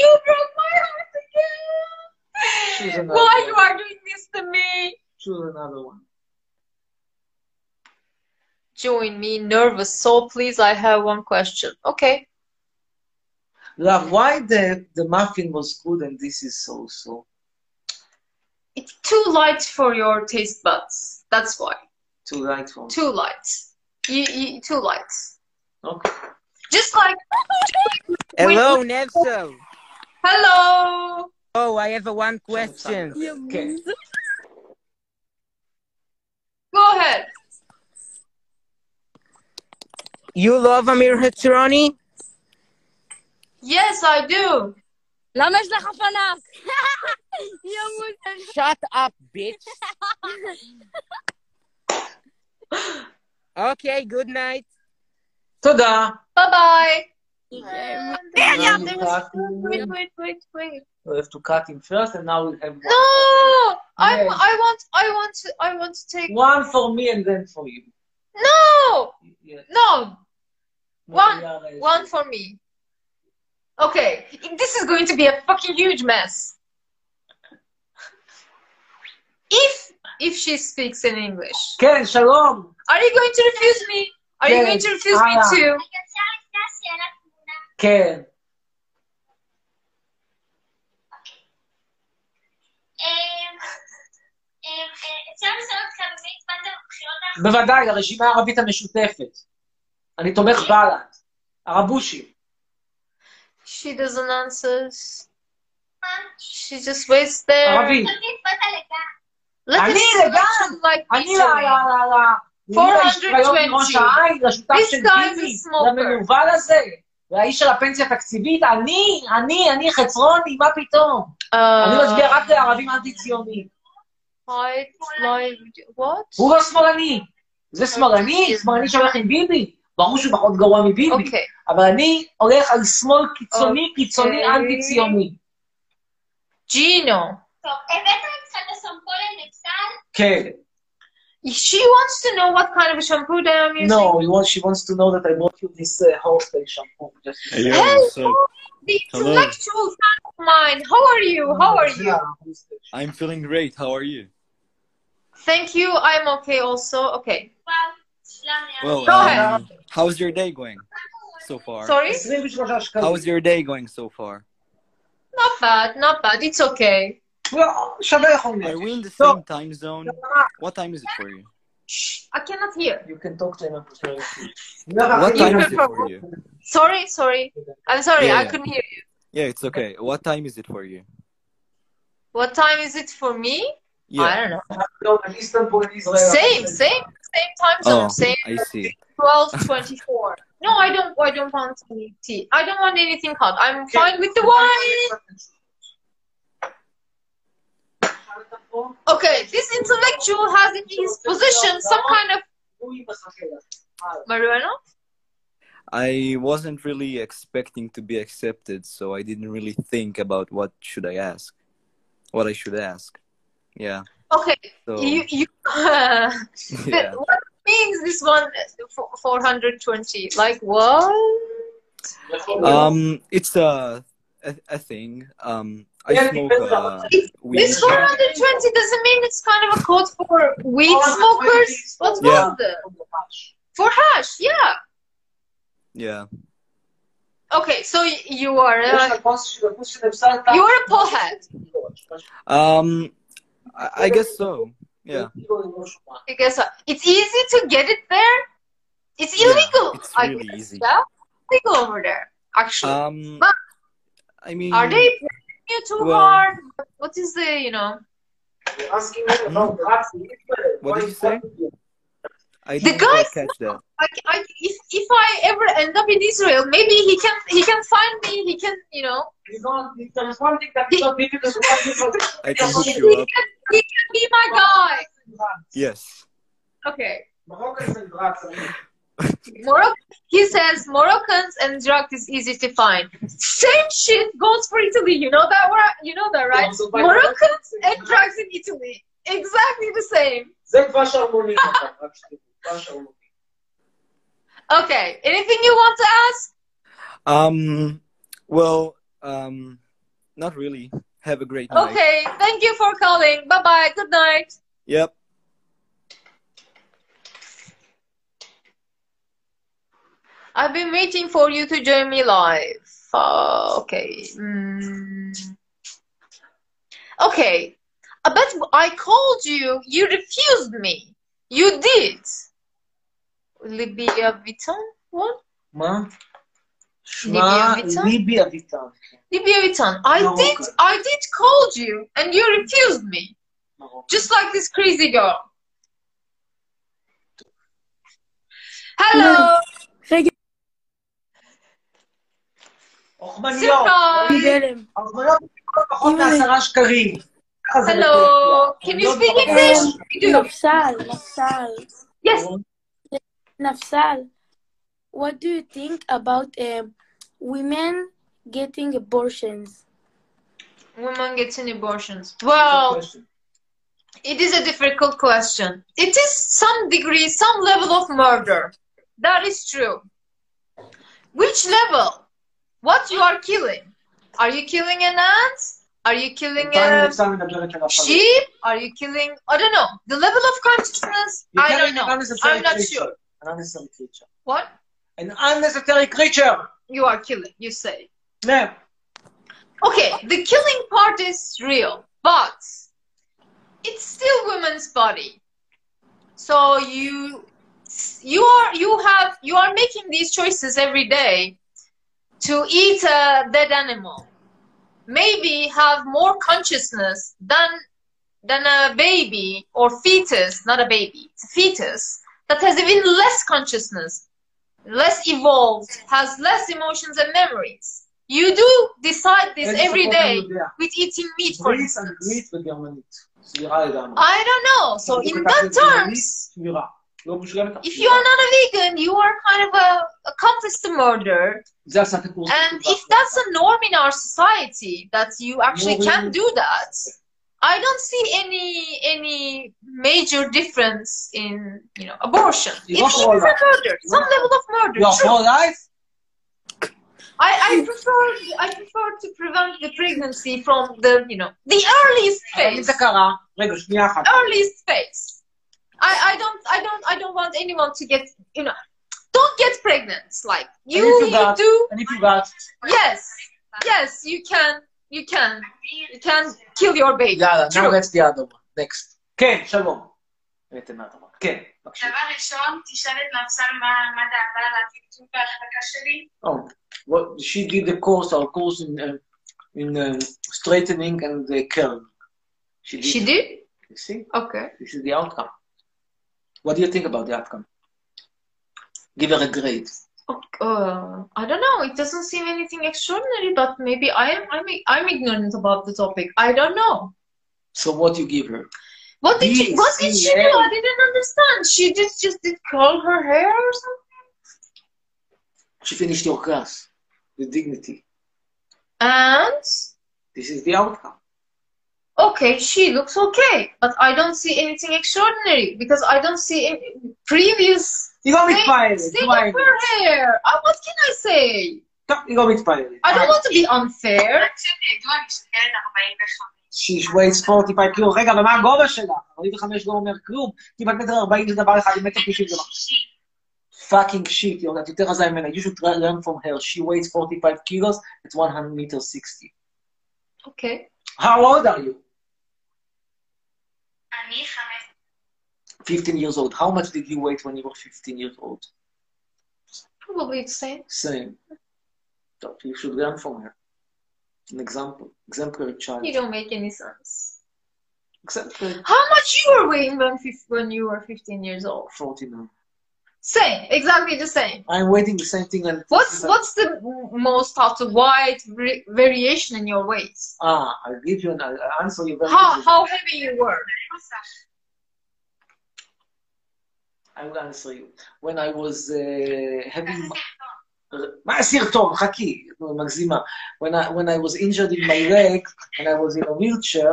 S2: you broke my heart
S1: She's
S2: again.
S1: another
S2: Why
S1: one.
S2: you are doing this to me?
S1: Choose another one.
S2: Join me, nervous soul, please. I have one question. Okay.
S1: Love, why the, the muffin was good and this is so so?
S2: It's too light for your taste buds. That's why.
S1: Too light for me.
S2: Too light. You, you, too light.
S1: Okay.
S2: Just like,
S9: Hello, Nevso.
S2: hello.
S9: Oh, I have a one question.
S1: Okay.
S2: Go ahead.
S9: You love Amir Hatroni?
S2: Yes, I do.
S10: למה יש לך פנס? יא מוזר.
S9: Shut up, bitch. okay, good night.
S1: תודה.
S2: Bye bye.
S1: Now you cut
S2: Wait,
S1: him.
S2: wait, wait, wait.
S1: We have to cut him first and now we'll have one.
S2: No, I,
S1: Yes.
S2: I want, I want to, I want to take.
S1: One for me and then for you.
S2: No,
S1: Yeah.
S2: no, One.
S1: We are, uh,
S2: one for me. Okay, this is going to be a fucking huge mess. If if she speaks in English,
S1: כן, שלום.
S2: are you going to refuse me? Are you
S1: Yes,
S2: going to refuse
S1: I
S2: me
S1: am.
S2: too?
S1: כן.
S5: אפשר לשאול אותך במי הצבעת בבחירות האחרונות?
S1: בוודאי, לרשימה הערבית המשותפת. אני תומך בל"ד. הרבושי.
S2: She doesn't answer. She just waits there.
S1: ערבי.
S2: Look at
S1: Ali,
S2: she
S1: the guy.
S2: mentioned, like
S1: אני לא, ל... ל...
S2: featuring.
S1: ל... ל... מימון השוויון מראש לא העין, לשותף
S2: This
S1: של
S2: guy is a
S1: ביבי,
S2: smoker.
S1: למנוול הזה, והאיש של הפנסיה התקציבית, אני, אני, אני חצרוני, מה פתאום? אני מצביע
S2: Uh,
S1: רק לערבים אנטי-ציונים.
S2: Fight live. Uh, What?
S1: הוא לא שמאלני. זה שמאלני,
S2: אוקיי.
S1: שמאלני שהולך עם ביבי. ברור שהוא פחות גרוע מביבי,
S2: Okay.
S1: אבל אני הולך על שמאל קיצוני, קיצוני
S2: אוקיי. אוקיי.
S1: אנטי-ציוני.
S2: Gino.
S5: טוב, הבאת את חדסון כהן לבצל?
S1: כן.
S2: She wants to know what kind of shampoo they are using.
S1: No, you want, she wants to know that I brought you this uh, whole thing shampoo. Just...
S11: Hey,
S2: Hey,
S11: yo, so
S2: The
S11: Hello.
S2: intellectual fan of mine. How are you? How are you?
S1: Yeah.
S11: I'm feeling great. How are you?
S2: Thank you. I'm okay also. Okay.
S5: וואו, שלומיה.
S11: Well,
S2: Go ahead.
S11: um, how's your day going so far?
S2: Sorry?
S1: 23 שקלים.
S11: How's your day going so far?
S2: Not bad. Not bad. It's okay.
S1: לא, שווה לכל מיני.
S11: Are we in the
S1: No.
S11: same time zone? What time is it for you?
S2: Shh. I cannot hear.
S1: You can talk to him.
S11: What
S2: You
S11: time is it
S2: prefer
S11: for you?
S2: Sorry. Sorry. I'm sorry.
S11: Yeah,
S2: I
S11: yeah.
S2: couldn't hear you.
S11: Yeah, it's okay. What time is it for you?
S2: What time is it for me? I don't know.
S1: No, at least I'm born in Israel.
S2: Same,
S1: é
S2: same, same time zone,
S11: Oh,
S2: same
S11: I see.
S2: twelve twenty four. No, I don't. I don't want any tea. I don't want anything hot. I'm fine with the wine. Okay, this intellectual has in his position some kind of marijuana.
S11: I wasn't really expecting to be accepted, so I didn't really think about what should I ask, what I should ask. Yeah.
S2: Okay,
S11: So-
S2: you you.
S11: Yeah.
S2: What means this one four hundred twenty? Like what?
S11: Um, it's a a, a thing. Um, I
S2: Yeah,
S11: smoke
S2: because-
S11: uh, weed.
S2: This 420 doesn't mean it's kind of a code for weed smokers. What's
S11: Yeah.
S2: wrong with it? For hash, yeah.
S11: Yeah.
S2: Okay, so y- you are a, you are a polehead.
S11: Um, I, I guess so. Yeah.
S2: I guess what? uh, it's easy to get it there. It's
S11: Yeah,
S2: illegal.
S11: it's
S2: I
S11: really
S2: guess,
S11: easy.
S2: Yeah, illegal over there. Actually,
S11: Um,
S2: but
S11: I mean,
S2: are they pushing you too
S11: well-
S2: hard? What is the you know
S11: Hum.
S1: é
S11: What did you say? I
S2: The
S11: didn't
S2: guy
S11: quite catch that.
S2: I, I, if, if I ever end up in Israel, maybe he can he can find me. He can you know.
S1: There's one thing that is not difficult.
S11: I can hook you up.
S2: He can be my
S11: Yes.
S2: guy. Okay. Morocco, he says Moroccans and drugs is easy to find. Same shit goes for Italy. You know that word? You know that, right?
S1: Also, by-
S2: Moroccans and drugs in Italy. Exactly the same.
S1: זה כבר שרמונים, אבל, רק שתדעו, כבר שרמונים.
S2: Okay. Anything you want to ask?
S11: Um, well, um, not really. Have a great night.
S2: Okay. Thank you for calling. Bye bye. Good night.
S11: Yep.
S2: I've been waiting for you to join me live. Uh, okay. Mm. Okay. Uh, But I called you. You refused me. You did. Libya Vitan? What?
S1: מה?
S2: ליבי אביטן?
S1: ליבי אביטן.
S2: Libya Vitan. I
S1: No,
S2: did.
S1: okay.
S2: I did called you, and you refused me. Just like this crazy girl. Hello.
S1: אוכמניות. אוכמניות מוכרות פחות
S4: הנה.
S1: מעשרה שקרים. ככה זה
S2: Hello.
S1: בטורקיה.
S2: Can you speak
S1: אוכמניות
S2: English? You do.
S4: Nafsal, Nafsal.
S2: Yes.
S4: Nafsal, what do you think about um, women getting abortions?
S2: women getting abortions? Well, it is a difficult question. It is some degree, some level of murder. That is true. Which level? What you are killing? Are you killing an ant? Are you killing
S1: בינתיים
S2: a
S1: יצא מדברת על הפנים.
S2: sheep? Are you killing? I don't know. The level of consciousness.
S1: You're
S2: I don't
S1: killing
S2: know.
S1: an unnecessary
S2: I'm not
S1: creature.
S2: sure.
S1: An unnecessary creature.
S2: What
S1: An unnecessary creature.
S2: you are killing? You say.
S1: No.
S2: okay, the killing part is real, but it's still women's body. So you you are you have you are making these choices every day to eat a dead animal. Maybe have more consciousness than than a baby or fetus, not a baby, it's a fetus that has even less consciousness less evolved, has less emotions and memories. You do decide this
S1: איזה
S2: every
S1: שפות
S2: day
S1: אני יודע?
S2: with eating meat, for
S1: עברית,
S2: instance.
S1: אנגלית וגרמנית. סבירה לגמרי.
S2: I don't know. So in that
S1: גרמנית,
S2: terms,
S1: סבירה. לא מושלמת. אך
S2: if you
S1: סבירה.
S2: are not a vegan, you are kind of a accomplice to murder.
S1: זה עשה את הקורס.
S2: And if that's a norm in our society that you actually can do that, I don't see any any major difference in you know abortion. It
S1: Not
S2: is
S1: all
S2: a
S1: that.
S2: murder, some level of murder.
S1: You are
S2: true.
S1: pro life?
S2: I, I prefer I prefer to prevent the pregnancy from the you know the earliest
S1: אבל אם
S2: phase.
S1: זה קרה, רגע, שנייה אחת.
S2: Earliest phase. I, I don't I don't I don't want anyone to get you know don't get pregnant. Like you
S1: אני
S2: you
S1: פוגעת,
S2: do
S1: אני פוגעת.
S2: yes yes you can you can you can kill your baby.
S1: יאללה, now
S2: True.
S1: that's the other one. Next. כן, שלום. הבאתם מהדבר. כן, בבקשה.
S5: דבר ראשון, תשאל את נפסל מה מה דעתה על הטמטום בהחלקה שלי.
S1: Oh, well, she did the course, our course in, uh, in uh, straightening and uh, curling. She did.
S2: She did?
S1: You see?
S2: Okay.
S1: This is the outcome. What do you think about the outcome? Give her a grade.
S2: Uh, I don't know. It doesn't seem anything extraordinary, but maybe I am. I'm, I'm ignorant about the topic. I don't know.
S1: So what you give her?
S2: What did she? What did she do?
S1: DCL.
S2: I didn't understand. She just just did curl her hair or something.
S1: She finished your class with dignity.
S2: And
S1: This is the outcome.
S2: okay, she looks okay, but I don't see anything extraordinary because I don't see in previous.
S1: You got me fired.
S2: thing
S1: You are-
S2: of her hair. Uh, what can I say?
S1: You got me fired.
S2: I don't want to be unfair.
S1: She weighs 45 קילו. רגע, ומה הגובה שלה? 45 לא אומר כלום, כי בת מטר 40 זה דבר אחד, מטר 90 זה דבר. Fucking shit, you're not יותר רזה ממנה. You should try- learn from her. She weighs 45 kilos at 100 meter 60.
S2: Okay.
S1: How old are you?
S5: אני חמש
S1: 15 years old. How much did you weight when you were 15 years old?
S2: Probably the same.
S1: Same. So you should learn from her. An example. Exemplary child.
S2: You don't make any sense.
S1: Exemplary.
S2: How much you were weighing when fif- when you were 15 years old?
S1: 49.
S2: Same, exactly the same.
S1: I'm waiting the same thing. And
S2: What's what's the most out of wide vari- variation in your weight?
S1: Ah, I'll give you an I'll I'll answer you very
S2: How
S1: easily.
S2: how heavy you were?
S1: I will answer you. When I was uh, having... מה הסרטון? חכי, מגזימה. When I, when I was injured in my leg, and I was in a wheelchair,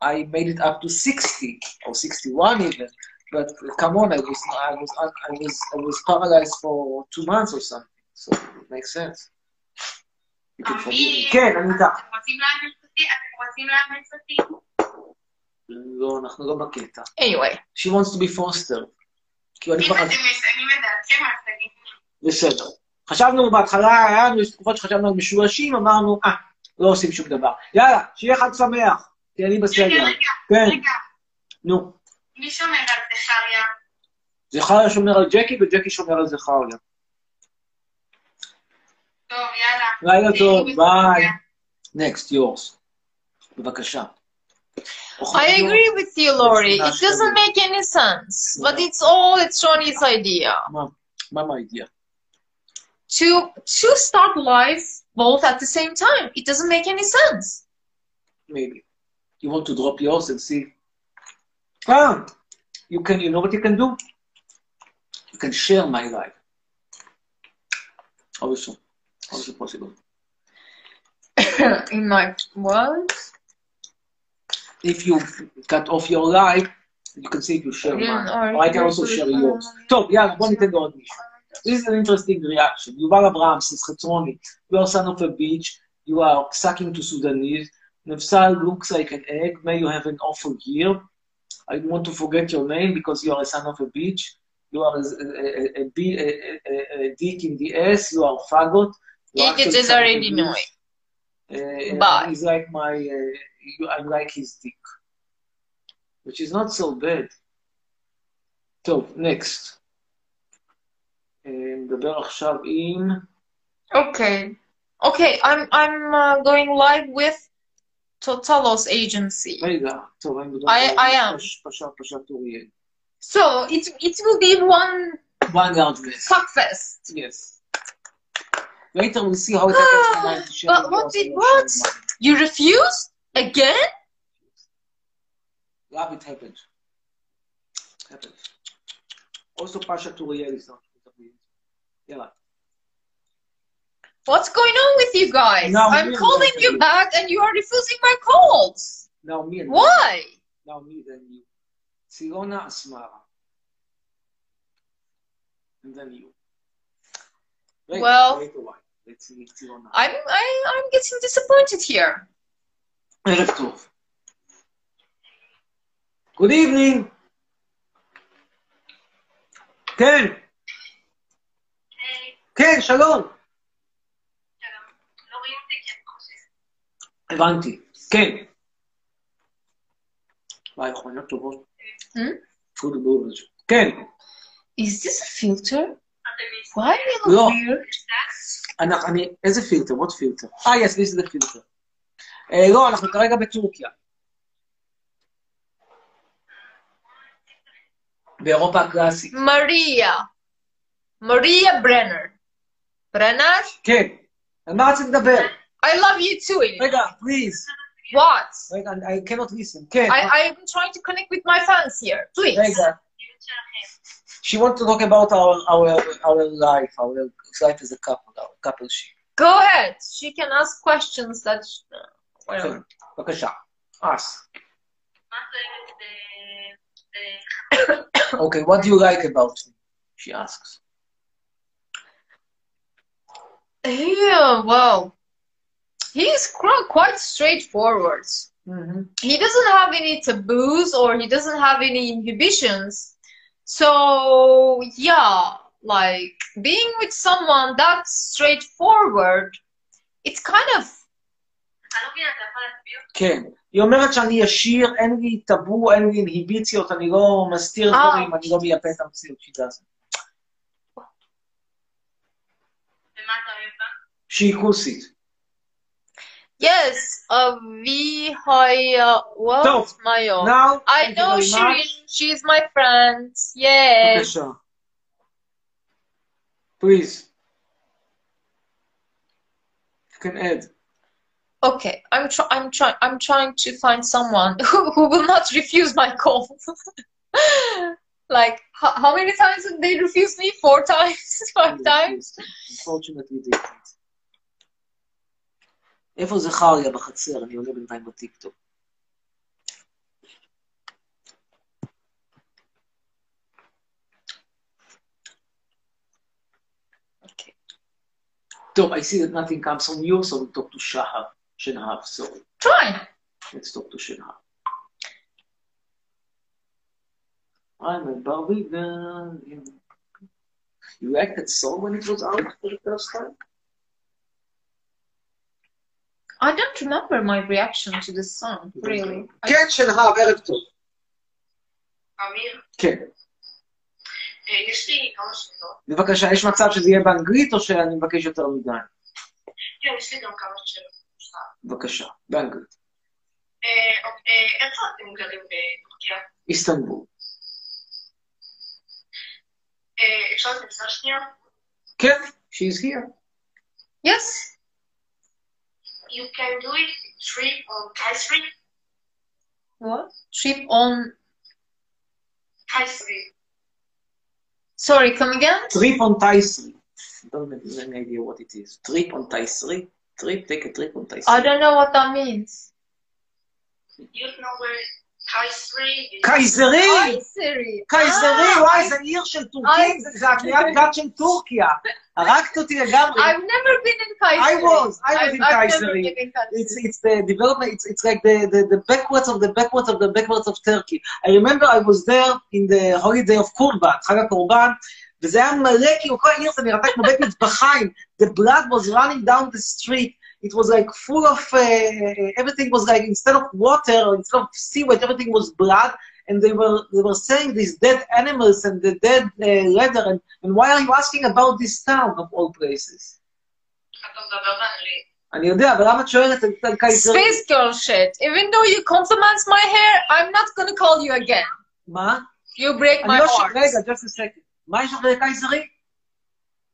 S1: I made it up to 60, or 61 even. But come on, I was, I was, I was, I was paralyzed for two months or something. So it makes sense. You can forgive me. כן, אני איתך.
S5: אתם רוצים לאמץ אותי? אתם רוצים לאמץ אותי?
S1: לא, אנחנו לא בקטע.
S2: anyway.
S1: She wants to be fostered. כאילו, אני
S5: אם
S1: כבר...
S5: אתם מסיימים את דעתכם, אז תגידו.
S1: בסדר. חשבנו בהתחלה, היה לנו תקופות שחשבנו על משולשים, אמרנו, אה, לא עושים שום דבר. יאללה, שיהיה חג שמח, כי אני
S5: רגע,
S1: בסדר.
S5: רגע,
S1: כן,
S5: רגע.
S1: נו.
S5: מי שומר על זכריה?
S1: זכריה שומר על ג'קי וג'קי שומר על זכריה.
S5: טוב, יאללה.
S1: לילה טוב, ביי. Next, yours. בבקשה.
S2: I agree with you, Lori. It doesn't make any sense, but it's all it's Ronnie's idea
S1: מה- מה מהידיעה?
S2: to to start life both at the same time. It doesn't make any sense.
S1: Maybe. You want to drop yours and see? Ah, you can, you know what you can do? You can share my life. How is it? How is it possible?
S2: In my world,
S1: if you cut off your life, you can see if you share
S2: Yeah,
S1: mine.
S2: or
S1: Or I can
S2: you
S1: also
S2: could,
S1: share yours. טוב, יאללה, בוא ניתן לעוד מישהו. This is an interesting reaction. יובל אברהם, סכטרוני, you are son of a bitch, you are sucking to Sudanese, נפסל looks like an egg, may you have an awful year. I want to forget your name because you are a son of a bitch. You are a, a, a, a, b- a, a, a dick in the ass. You are faggot. You
S2: it
S1: actually son
S2: is
S1: of a
S2: already
S1: bitch.
S2: knowing.
S1: Uh,
S2: Bye.
S1: He's like my, uh, you- I'm like his dick, which is not so bad. So next. Uh, נדבר עכשיו עם...
S2: Okay. Okay, I'm I'm uh, going live with Totalos agency.
S1: רגע, טוב, אני מדבר...
S2: I- I am.
S1: פשע פשע אוריאל.
S2: So it it will be one
S1: One large mess.
S2: success.
S1: Yes. Later we'll see how it happens when I'm sharing
S2: but what
S1: yours
S2: did
S1: and you're
S2: what?
S1: sharing mine.
S2: You refuse again?
S1: Love it happened. Happened. Also פשע אוריאל is not... יאללה.
S2: What's going on with you guys?
S1: No,
S2: I'm
S1: really,
S2: calling
S1: nothing.
S2: you back and you are refusing my calls.
S1: Now me and...
S2: Why?
S1: Now me then you. סירונה אסמרה. And then you. Wait,
S2: Well-
S1: wait a while. Let's see, סירונה.
S2: I'm I, I'm getting disappointed here.
S1: ערב טוב. Good evening. כן. כן, שלום.
S5: לא רואים אותי כי אני חושבת.
S1: הבנתי. כן. וואי, יכולות טובות. Good boobage. כן,
S2: Is this a filter? Why do you
S1: לא.
S2: look weird?
S1: אנחנו, אני, איזה פילטר? עוד פילטר. אה, יס, this is the filter. אה, לא, אנחנו כרגע בטורקיה. באירופה הקלאסית.
S2: Maria. Maria Brenner. Brenner?
S1: כן. על מה רצית לדבר?
S2: I love you too. Ilya.
S1: רגע, please.
S2: What?
S1: רגע, I cannot listen. כן.
S2: I, I'm trying to connect with my fans here. Please.
S1: רגע. She wants to talk about our, our, our life, our life as a couple, our couple ship.
S2: Go ahead. She can ask questions that. uh,
S1: כן, בבקשה. us. okay, אוקיי, what do you like about me? She asks.
S2: Yeah, well, he's qu- quite straightforward. He doesn't have any taboos or he doesn't have any inhibitions. So, yeah, like being with someone that's straightforward, it's kind of
S1: כן. היא אומרת שאני ישיר, אין לי טאבו, אין לי אינהיביציות, אני לא מסתיר
S2: אה.
S1: דברים, אני לא מייפה את המציאות שהיא doesn't. שהיא כוסית.
S2: Yes, uh, we hi, what?
S1: So,
S2: Mayo.
S1: now,
S2: Oh. I
S1: thank you
S2: know
S1: very
S2: Shirin.
S1: much.
S2: She's my friend. Yes.
S1: בבקשה. Please. You can add.
S2: Okay, I'm try- I'm trying. I'm trying to find someone who, who will not refuse my call. like how, how many times did they refuse me? Four times, five times.
S1: Unfortunately, they didn't. איפה זכריה בחצר? אני עולה בינתיים בטיקטוק. טוב, I see that nothing comes from you, so we talk to Shahar. Shinhar, sorry.
S2: Try.
S1: Let's talk to Shinhar. I'm a Barbie girl. You liked that song when it was out for the first time?
S2: I don't remember my reaction to this song really.
S1: כן, שנהב, ערב טוב.
S5: אמיר,
S1: כן.
S5: אה, יש לי כמה שאלות.
S1: בבקשה, יש מצב שזה יהיה באנגלית או שאני מבקש יותר מדי?
S5: כן, יש לי גם כמה שאלות. סליחה.
S1: בבקשה, באנגלית.
S5: אה, אוקיי, אה, איפה אתם גרים בטורקיה?
S1: איסטנבול.
S5: אה, אפשר לנסוע שנייה?
S1: כן, she's here.
S2: Yes.
S5: You can do it trip on Kayseri.
S2: What? Trip on.
S5: Kayseri.
S2: Sorry, come again.
S1: Trip on Taisri. Don't have any idea what it is. Trip on Taisri. Trip, take a trip on Taisri.
S2: I don't know what that means.
S5: You know where Kayseri is?
S1: קייזרי!
S2: Kayseri.
S1: קייזרי,
S2: Ah,
S1: וואי, זה עיר של טורקים, זה- זה הקריאת גת של טורקיה. הרגת אותי לגמרי.
S2: Ah, I've never been in
S1: I
S2: Kayseri.
S1: was, I was
S2: I've-
S1: in
S2: I've never
S1: Kayseri.
S2: been in Kayseri.
S1: It's, it's the development, it's, it's like the, the, the backwards of the backwards of the backwards of Turkey. I remember I was there in the holiday of Kurban, חג הקורבן, וזה היה מלא, כאילו כל העיר זה נראתה כמו בית מטבחיים. The blood was running down the street. It was like full of, uh, everything was like, instead of water, or instead of sewage, everything was blood. And they were they were saying these dead animals and the dead uh, leather. And, and why are you asking about this town of all places?
S5: אתה מדבר באנגלית.
S1: אני יודע, אבל למה את שואלת על קייזרי?
S2: Space girl shit. Even though you compliment my hair, I'm not gonna call you again.
S1: מה?
S2: You break
S1: אני
S2: my
S1: לא ש...
S2: heart.
S1: רגע, just a second. מה יש לך לקייזרי?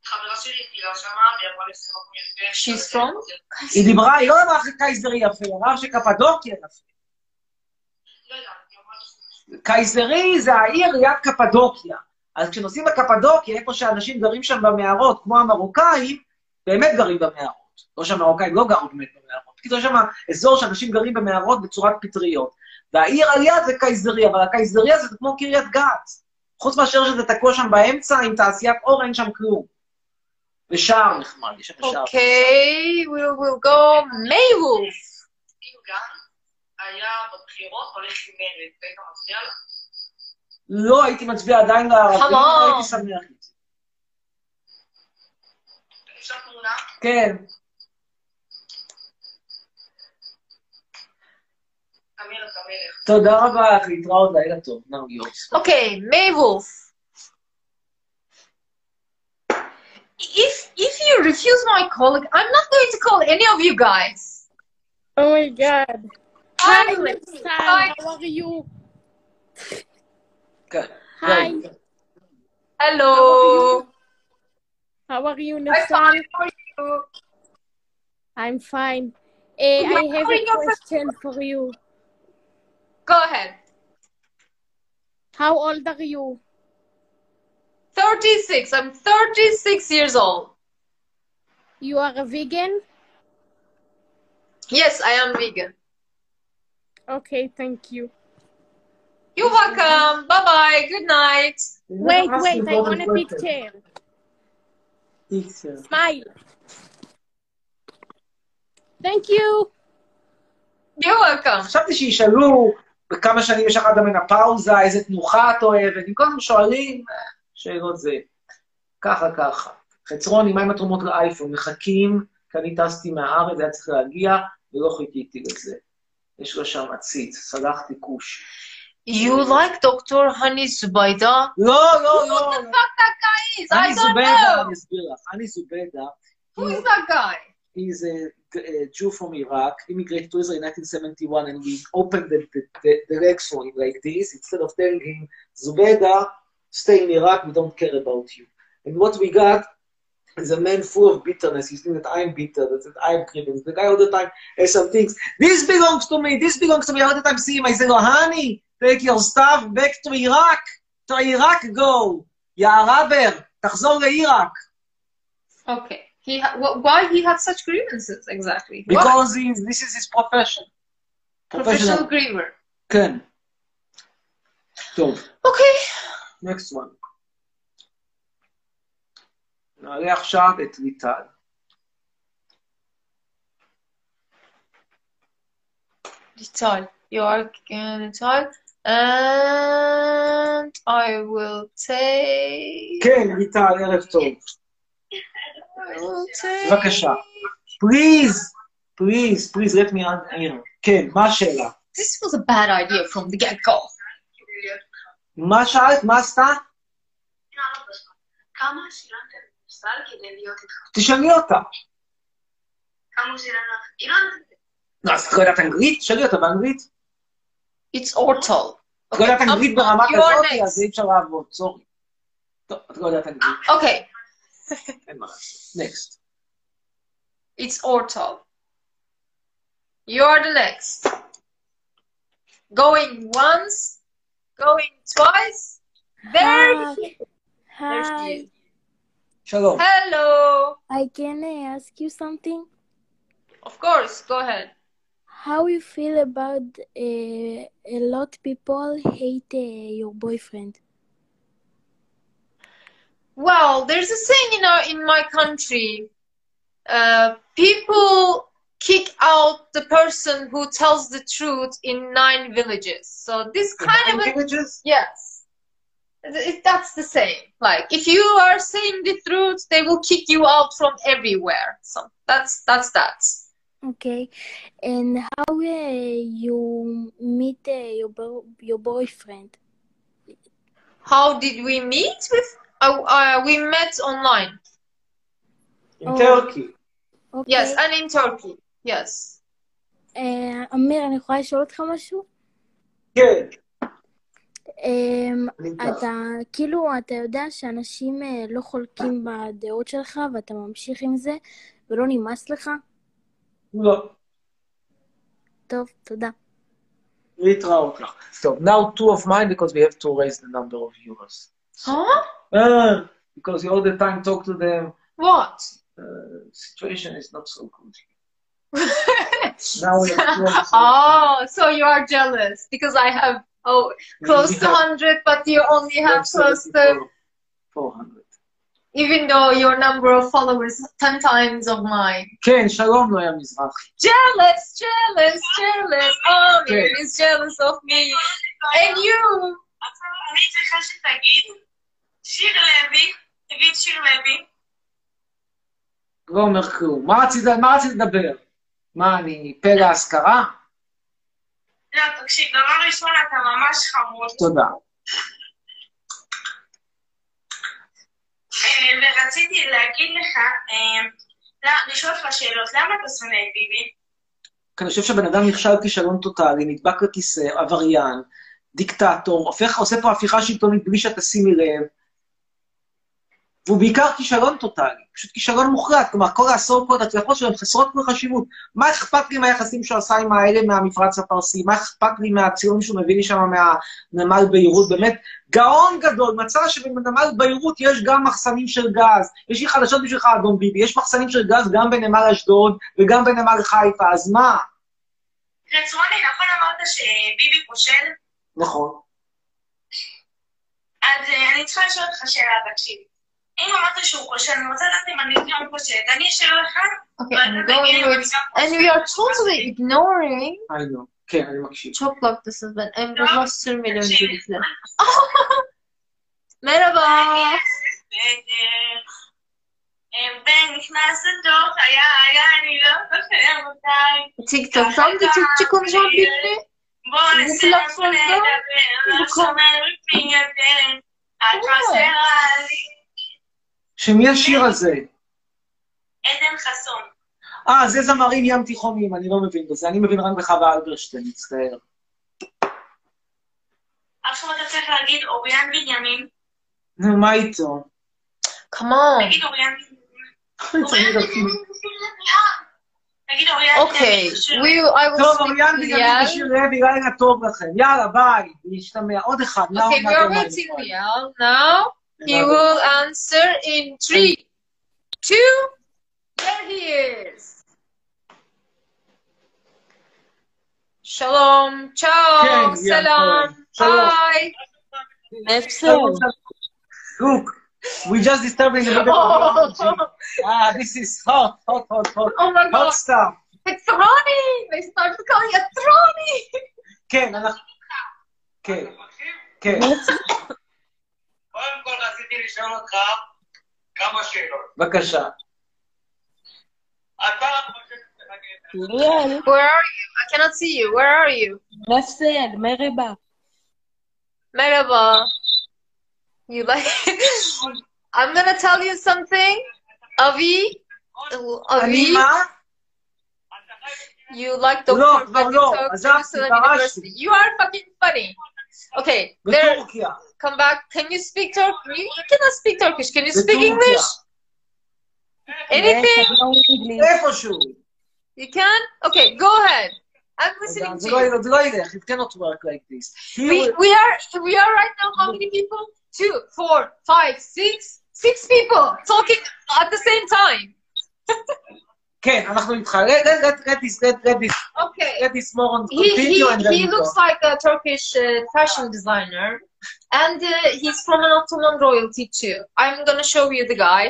S5: חברה שלי טילה שמה, והיא אמרה לי שזה מקום יפה.
S2: She's from?
S1: היא דיברה, היא לא אמרה לך קייזרי יפה, היא אמרה שקפדוקיה יפה.
S5: לא יודעת, היא אמרה לי שזה
S1: קייזרי זה העיר ליד קפדוקיה. אז כשנוסעים לקפדוקיה, איפה שאנשים גרים שם במערות, כמו המרוקאים, באמת גרים במערות. לא שהמרוקאים לא גרו באמת במערות. כאילו יש שם אזור שאנשים גרים במערות בצורת פטריות. והעיר על יד זה קייזרי, אבל הקייזריה זה כמו קריית גת. חוץ מאשר שזה תקוע שם באמצע עם תעשיית אור, אין שם כלום. ושער נחמד, יש שם
S2: אוקיי.
S1: שער.
S2: Okay, we will go Maywolf.
S5: אם גם היה בבחירות הולך עם מרצ, היית מצביע לה?
S1: לא הייתי מצביע עדיין לערבים,
S2: Come
S1: אבל
S2: on.
S1: הייתי שמח. עם זה.
S5: אפשר תמונה?
S1: כן,
S5: אמיר, אתה מלך.
S1: תודה רבה לך, להתראות, לילה טוב. Now yours.
S2: Okay, Maywolf. If if you refuse my call, I'm not going to call any of you guys.
S10: Oh my god. Hi,
S2: Finally.
S10: Nafsal. How are you?
S1: כן.
S10: Hi.
S2: Hello.
S10: How are you,
S5: Hi,
S10: Nafsal?
S5: how are you?
S10: I'm fine. Eh, I have a question for you.
S2: Go ahead.
S10: How old are you?
S2: 36. I'm 36 years old.
S10: You are a vegan?
S2: Yes, I am vegan.
S10: Okay, thank you.
S2: You're welcome. Bye bye. Good night.
S10: Wait, wait, I want a picture.
S1: Picture.
S10: Smile. Thank you.
S2: You're welcome.
S1: חשבתי שישאלו בכמה שנים יש לך עד המנפאוזה, איזה תנוחה את אוהבת, אם כל הזמן שואלים, אה, שאלות זה ככה ככה. חצרוני, מה עם התרומות לאייפון? מחכים, כי אני טסתי מהארץ, היה צריך להגיע, ולא חיכיתי לזה. יש לו שם עציץ, סלחתי כוש.
S2: You like Dr. Hani Zubaida?
S1: לא, לא,
S2: Who
S1: לא.
S2: the fuck that guy is? I
S1: אני
S2: don't
S1: זובדה,
S2: know.
S1: אני אסביר לך. אני זובדה.
S2: Who is that guy?
S1: He's a, a Jew from Iraq, immigrated to Israel in 1971, and we opened the, the, the, the legs for him like this, instead of telling him, Zubeda, stay in Iraq, we don't care about you. And what we got is a man full of bitterness. He's thinking that I'm bitter, that, that I'm criminal. The guy all the time has some things, this belongs to me, this belongs to me. All the time see him, I say, Rouhani, take your stuff back to Iraq, to Iraq go, Ya Rabber, תחזור לעיראק.
S2: Okay. He ha- wh- why he had such grievances exactly? Why?
S1: Because he, this is his profession.
S2: professional griever.
S1: כן. טוב,
S2: Okay.
S1: next one. נעלה עכשיו את ליטל.
S2: Lital, you are Lital, and I will take.
S1: כן, ליטל, ערב טוב.
S2: I will take.
S1: בבקשה. פליז, פליז, פליז, let me on air. כן, מה השאלה?
S2: This was a bad idea from the get go.
S1: מה שאלת? מה עשתה?
S5: כמה שילמתם לנפסל כדי להיות איתך?
S1: תשאלי אותה.
S5: כמה שילמנו? היא לא נתנה.
S1: לא, אז את לא יודעת אנגלית? תשאלי אותה באנגלית.
S2: It's Ortal.
S1: את לא יודעת אנגלית ברמה
S2: you are
S1: כזאת,
S2: next.
S1: אז אי אפשר לעבוד, סורי. טוב, את לא יודעת אנגלית,
S2: Okay,
S1: אין מה לעשות. נקסט.
S2: it's Ortal. You are the next. Going once, going twice.
S4: Uh,
S2: There she There she
S4: Hi.
S2: is.
S1: שלום.
S2: אה. Hello.
S4: I can I ask you something?
S2: Of course, go ahead.
S4: How you feel about uh, a lot people hate uh, your boyfriend?
S2: Well, there's a saying in our, in my country. Uh, people kick out the person who tells the truth in nine villages. So this kind of a,
S1: languages?
S2: yes, Th- that's the same. Like if you are saying the truth, they will kick you out from everywhere. So that's that's that.
S4: Okay, and how uh, you meet uh, your bo- your boyfriend?
S2: How did we meet? With uh, uh, we met online.
S1: עם טרקי.
S4: Okay.
S12: Mm-hmm.
S2: Yes, and in Turkey. Yes.
S4: אה, אמיר, אני יכולה לשאול אותך משהו?
S1: כן.
S4: אמ,
S1: אני איתך.
S4: אתה, כאילו, אתה יודע שאנשים אה, לא חולקים בדעות שלך ואתה ממשיך עם זה ולא נמאס לך?
S1: לא.
S4: טוב, תודה.
S1: להתראות לך. טוב, now two of mine because we have to raise the number of viewers.
S2: Huh?
S1: Uh, because you all the time talk to them,
S2: What?
S1: uh, situation is not so good. Now we have two of
S2: oh, so you are jealous because I have oh close to
S1: We have-
S2: hundred, but you only have close to
S1: 400.
S2: even though your number of followers is ten times of mine.
S1: כן, שלום, נויה מזרחי.
S2: Jealous, jealous, jealous. Oh, Miriam is jealous of me, and you.
S5: עכשיו אני צריכה שתגיד שיר לוי, תגיד שיר לוי.
S1: לא אומר כלום. מה רצית, מה רצית לדבר? מה, אני פה להשכרה?
S5: לא, תקשיב, דבר ראשון אתה ממש חמוד.
S1: תודה.
S5: אה, ורציתי להגיד לך, אה, לא, לשאול אותך שאלות, למה אתה שונא את ביבי?
S1: כי אני חושב שבן אדם נכשל כישלון טוטאלי, נדבק לכיסא, עבריין, דיקטטור, הופך, עושה פה הפיכה שלטונית בלי שאת תשימי לב, והוא בעיקר כישלון טוטאלי, פשוט כישלון מוחלט, כלומר, כל העשור פה ההצלחות שלו הן חסרות כל חשיבות. מה אכפת לי מהיחסים שהוא עשה עם האלה מהמפרץ הפרסי? מה אכפת לי מהציון שהוא מביא לי שם מהנמל ביירות? באמת, גאון גדול, מצא שבנמל ביירות יש גם מחסנים של גז. יש לי חדשות בשבילך, אדון ביבי, יש מחסנים של גז גם בנמל אשדוד וגם בנמל חיפה, אז מה?
S5: רצרוני, נכון אמרת שביבי כושל?
S1: נכון.
S5: אז אה, אני צריכה לשאול אותך שאלה, תקשיב. אם אמרת שהוא כושל, אני רוצה לדעת אם אני גם כושלת. אני אשאל לך,
S2: Okay, I'm going with. And we are totally ignoring
S1: I know. כן, אני מקשיב.
S2: Toprak the Sızlan and we lost 2 milyon izle. Merhaba.
S5: אה, בן נכנס לתוך, היה, היה, אני לא זוכר מתי.
S2: TikTok'tan da Türkçe konuşan birini
S5: בוא
S2: Bu
S5: נסיים
S2: platformda
S5: לדבר,
S2: bu
S5: לא שומע מפי יותר. את חסרה לי.
S1: שמי השיר הזה?
S5: עדן חסון.
S1: אה, זה זמרים ים תיכוניים, אני לא מבין בזה, אני מבין רק בחווה אלברשטיין, מצטער.
S5: עכשיו אתה צריך להגיד אוריאן בנימין.
S1: נו, מה איתו?
S2: Come on.
S5: תגיד אוריאן בנימין. תגיד אוריאן
S2: Okay, we I will
S1: טוב,
S2: speak
S1: אוריאן
S2: with
S1: בנימין
S2: Yael.
S1: בשיר רבי, לילה טוב לכם. יאללה, ביי, נשתמע. עוד אחד, נאור
S2: Okay, we are
S1: נגרמן.
S2: waiting Rial now. He will answer in three, two. There he is. Shalom, ciao,
S1: Okay, yeah,
S2: salam,
S1: shalom.
S2: hi.
S1: Look, we just disturbing the middle of the world. Ah, this is hot, hot, hot, hot.
S2: Oh my God.
S1: hot stuff.
S2: It's Ronnie. They started calling us Ronnie.
S1: כן, אנחנו... כן, כן.
S7: קודם כל רציתי לשאול אותך כמה שאלות.
S1: בבקשה.
S7: אתה חושב
S2: Where are you? I cannot see you. Where are you?
S13: נפסל, מרבה.
S2: Merhaba. You like? I'm gonna tell you something. Avi, Avi,
S1: Anima?
S2: you like Dr.
S1: No,
S2: Fatih
S1: no, no.
S2: Tokuk,
S1: Azat,
S2: Jerusalem
S1: Sivarashi.
S2: University. You are fucking funny. Okay, there.
S1: בטורקיה.
S2: Come back. Can you speak Turk? You, you cannot speak Turkish. Can you speak
S1: בטורקיה.
S2: English? Anything?
S1: איפשהו.
S2: You can? Okay, go ahead. I'm listening to
S1: זה לא
S2: you.
S1: ילך, זה לא ילך, it cannot work like this.
S2: We, we are we are right now how many people? Two, four, five, six, six people talking at the same time.
S1: כן, אנחנו איתך. Let- let- let- let this, let- let this,
S2: Okay.
S1: let this moron
S2: He he,
S1: continue and then
S2: he
S1: we go.
S2: looks like a Turkish uh, fashion designer, and uh, he's from an Ottoman royalty too. I'm gonna show you the guy.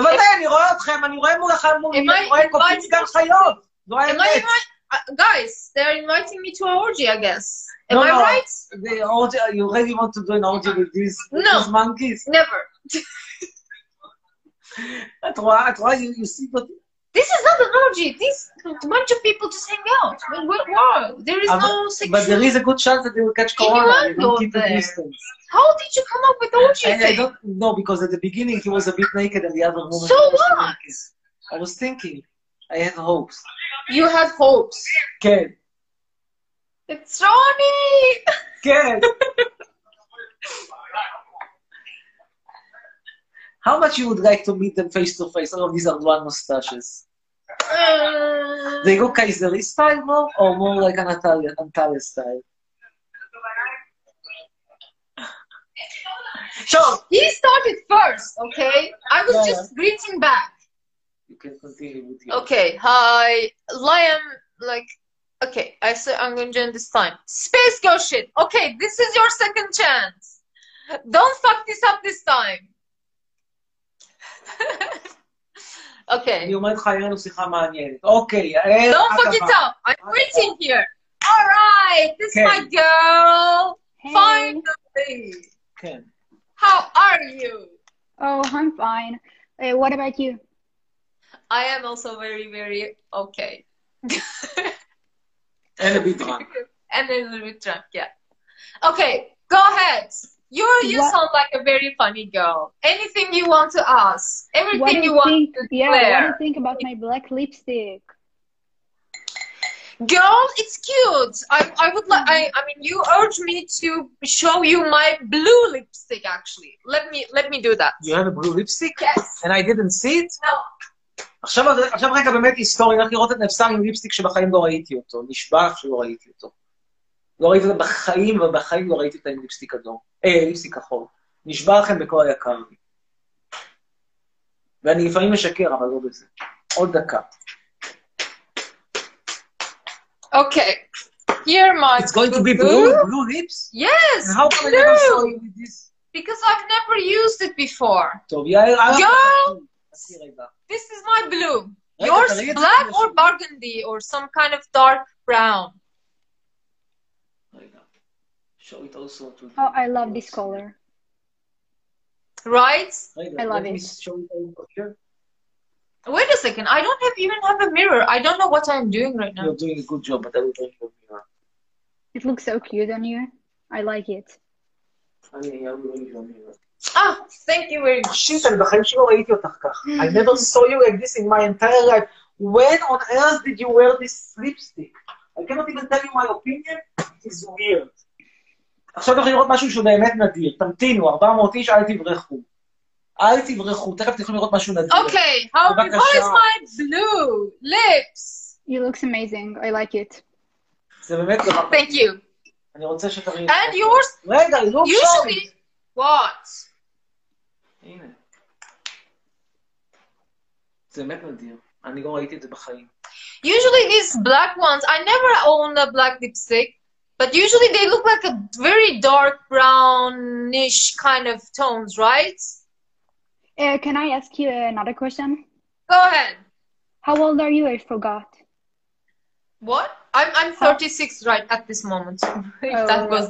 S1: בוודאי, אני רואה אתכם, אני רואה מולכם, מול-
S2: Am I
S1: רואה קופים
S2: invited?
S1: גם חיות. לא
S2: Am I
S1: האמת.
S2: invite- uh, guys? They're inviting me to an orgy, I guess. Am
S1: No,
S2: I
S1: no.
S2: right?
S1: The orgy, you really want to do an orgy with these, with
S2: No.
S1: these monkeys?
S2: Never.
S1: את רואה, את רואה, you, you see what...
S2: This is not an orgy. This a bunch of people just hang out. Well, well, wow. There is no
S1: but, but there
S2: sexual.
S1: is a good chance that they will catch
S2: Can you
S1: corona.
S2: all
S1: you
S2: go
S1: keep a
S2: there?
S1: distance.
S2: How did you come up with orgy?
S1: And I
S2: thing?
S1: don't know because at the beginning he was a bit naked and the other woman.
S2: So
S1: was
S2: what?
S1: naked. I was thinking. I had hopes.
S2: You had hopes.
S1: כן,
S2: It's Ronnie.
S1: כן. How much you would like to meet them face to face? All of these are one mustaches.
S2: Uh,
S1: They go Kayseri style more or more like an Antalya, Antalya style? So,
S2: he started first, okay? I was
S1: Yeah.
S2: just greeting back.
S1: you can continue with your...
S2: Okay, hi. Liam, like, okay, I said I'm going to join this time. Space girl shit. Okay, this is your second chance. Don't fuck this up this time.
S14: אוקיי.
S1: אני אומרת לך, היה לנו שיחה מעניינת. אוקיי, יעל,
S2: Don't
S1: את
S2: fuck it
S1: הבאה.
S2: up. I'm waiting here. All right, this is my girl. Finally.
S1: כן.
S2: How are you?
S5: Oh, I'm fine. Uh, what about you?
S2: I am also very, very okay.
S1: אלה ביטרן.
S2: And a little bit drunk, yeah. Okay, go ahead. You you
S5: What-
S2: sound like a very funny girl. Anything you want to ask, everything
S5: What do you
S2: you want
S5: think?
S2: to
S5: Yeah,
S2: declare.
S5: what do you think about my black lipstick?
S2: Girl, it's cute. I, I would like. I, I mean, you urged me to show you my blue lipstick. Actually, let me let me do that.
S1: You have a blue lipstick?
S2: Yes.
S1: And I didn't see it?
S2: No.
S1: עכשיו, עכשיו רגע באמת היסטורי, הולך לראות את נפסר עם ליפסטיק שבחיים לא ראיתי אותו. נשבע לך שלא ראיתי אותו. לא ראיתי אותו בחיים, ובחיים לא ראיתי אותו עם ליפסטיק אדום. אה, ליפסטיק כחול. נשבע לכם בכל היקר לי. ואני לפעמים משקר, אבל לא בזה. עוד דקה.
S2: Okay, here my. It's
S1: going to be blue, blue lips?
S2: Yes.
S1: And how come I never
S2: blue.
S1: saw you with this?
S2: Because I've never used it before.
S1: טוב, יאיר, אה,
S2: Girl,
S1: חצי רגע.
S2: this is my blue.
S1: רגע,
S2: Yours
S1: תראי את זה
S2: black or burgundy or some kind of dark brown.
S1: show it also to
S5: Oh, I love this color.
S2: Right?
S1: רגע,
S5: I love
S1: let me
S5: it.
S1: show it over here.
S2: Wait a second. I don't have even have a mirror. I don't know what I'm doing right now.
S1: You're doing a good job, but I will bring you a mirror.
S5: It looks so cute on you. I like it.
S1: אני, I will bring you a mirror.
S2: Ah, thank you very much.
S1: שיט, Oh, אני בחיים שלא ראיתי אותך כך. I never saw you like this in my entire life. When on earth did you wear this lipstick? I cannot even tell you my opinion, it is weird. עכשיו הולך לראות משהו שהוא באמת נדיר. תמתינו, 400 איש, אל תברחו. אל תברחו, תכף תוכלו לראות משהו נדיר.
S2: Okay, how how is
S1: בבקשה.
S2: my blue lips?
S5: It looks amazing. I like it.
S1: זה באמת דבר.
S2: Thank you.
S1: אני רוצה שתראי...
S2: And yours?
S1: רגע, look שם.
S2: Usually, what?
S1: הנה. זה באמת נדיר. אני לא ראיתי את זה בחיים.
S2: Usually these black ones, I never own a black lipstick, but usually they look like a very dark brownish kind of tones, right?
S5: Uh, can I ask you another question?
S2: Go ahead.
S5: How old are you? I forgot.
S2: What? I'm I'm 36 right at this moment.
S1: Oh,
S2: If that was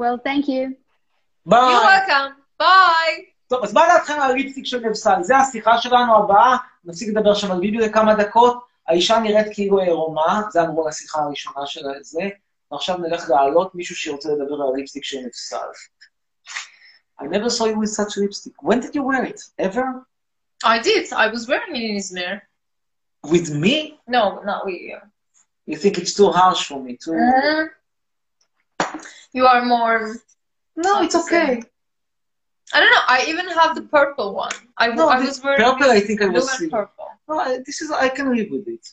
S5: Well, thank you.
S2: You're
S1: ביי!
S2: welcome. Bye.
S1: טוב, אז מה דעתכם על הליפסטיק של נבסל? זה השיחה שלנו הבאה, נפסיק לדבר שם על ביבי לכמה דקות. האישה נראית כאילו עירומה, זה אמרו לשיחה הראשונה של זה, ועכשיו נלך להעלות מישהו שירצה לדבר על הליפסטיק של נבסל. I never saw you with such lipstick. When did you wear it? Ever?
S2: I did. I was wearing it in Izmir.
S1: With me?
S2: No, not with you.
S1: You think it's too harsh for me, too...
S2: Mhm. You are more.
S1: No, it's okay.
S2: I don't know. I even have the purple one. I,
S1: No,
S2: I
S1: the
S2: was wearing
S1: purple, I think I
S2: blue
S1: was
S2: and
S1: seeing.
S2: purple.
S1: No, I- this is, I can live with it.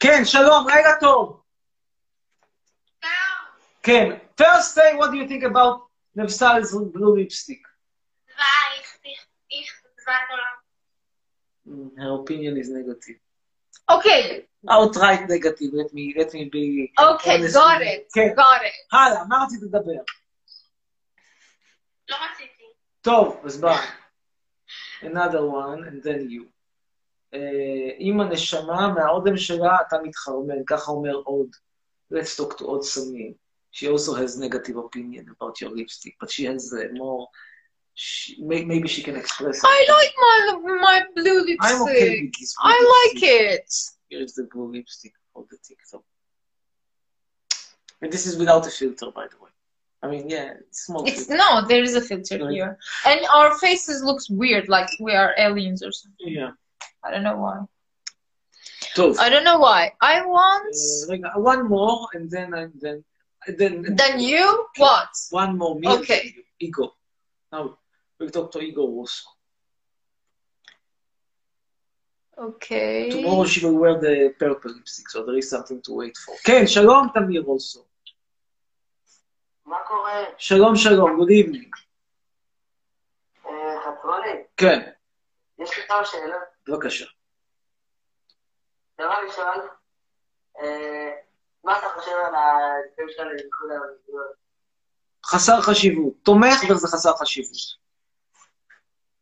S1: כן, שלום, רגע טוב. כן, first thing, what do you think about נבסל's blue lipstick?
S15: War ich dich, ich sag mal,
S1: Mm, Her opinion is negative.
S2: Okay.
S1: outright negative, let me, let me be...
S2: Okay,
S1: honest
S2: got
S1: with you.
S2: it.
S1: כן.
S2: Got it.
S1: הלאה, מה רצית לדבר?
S15: לא רציתי.
S1: טוב, אז ביי. another one, and then you. Uh, אה, אם הנשמה מהאודם שלה, אתה מתחרמן, ככה אומר עוד. Let's talk to עוד סמים. She also has negative opinion about your lipstick, but she has uh, more... She, may- maybe she can express it.
S2: I like my my blue lipstick.
S1: I'm okay with this blue
S2: I like
S1: lipstick.
S2: it.
S1: Here is the blue lipstick for the TikTok. And this is without a filter, by the way. I mean, yeah, it's small.
S2: It's
S1: filter.
S2: no, there is a filter
S1: Right.
S2: here, and our faces looks weird, like we are aliens or something.
S1: Yeah.
S2: I don't know why.
S1: טוב.
S2: I don't know why. I want
S1: Uh, רגע, one more, and then, and then, and then,
S2: then you what?
S1: one more, me,
S2: Okay.
S1: and you, Igor. Now, with Dr. Igor also.
S2: Okay.
S1: Tomorrow she will wear the purple lipstick, so there is something to wait for. כן, שלום, תמיר also.
S16: מה קורה?
S1: שלום, שלום, good evening.
S16: אה, חצרוני,
S1: כן,
S16: יש לי כמה שאלות.
S1: בבקשה.
S16: דבר ראשון, אה, מה אתה חושב על הדברים שלנו לאיחוד האמירויות? כן.
S1: חסר חשיבות. תומך וזה חסר חשיבות.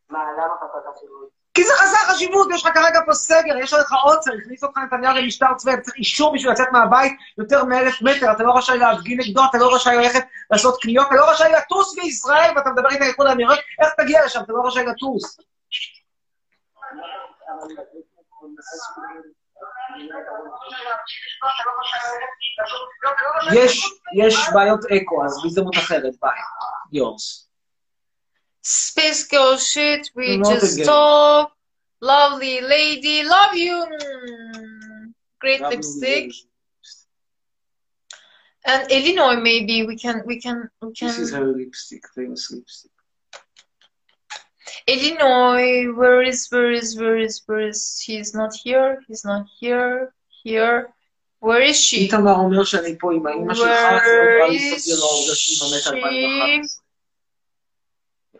S7: מה, למה חסר חשיבות?
S1: כי זה חסר חשיבות, יש לך כרגע פה סגר, יש לך עוצר, הכניס אותך נתניהו למשטר צבאי, אתה צריך אישור בשביל לצאת מהבית יותר מאלף מטר, אתה לא רשאי להפגין נגדו, אתה לא רשאי ללכת לעשות קניות, אתה לא רשאי לטוס בישראל, ואתה מדבר איתי על איחוד האמירויות, איך תגיע לשם, אתה לא רשאי לטוס. יש, יש בעיות אקו, אז בהזדמנות אחרת, ביי. יורס.
S17: Space girl shit, we
S1: Not
S17: just
S1: again.
S17: talk. Lovely lady, love you. Mm, Great lipstick. And Illinois, maybe we can, we can, we
S1: This is
S17: can.
S1: her lipstick, famous lipstick.
S17: Illinois, where is, where is, where is, where is? He's not here. He's not here. Here. Where is she?
S1: איתמר אומר שאני פה עם האמא שלך, זה
S17: Where
S1: נראה לי
S17: is
S1: סביר לעובדה שהיא באמת 2011.
S17: she?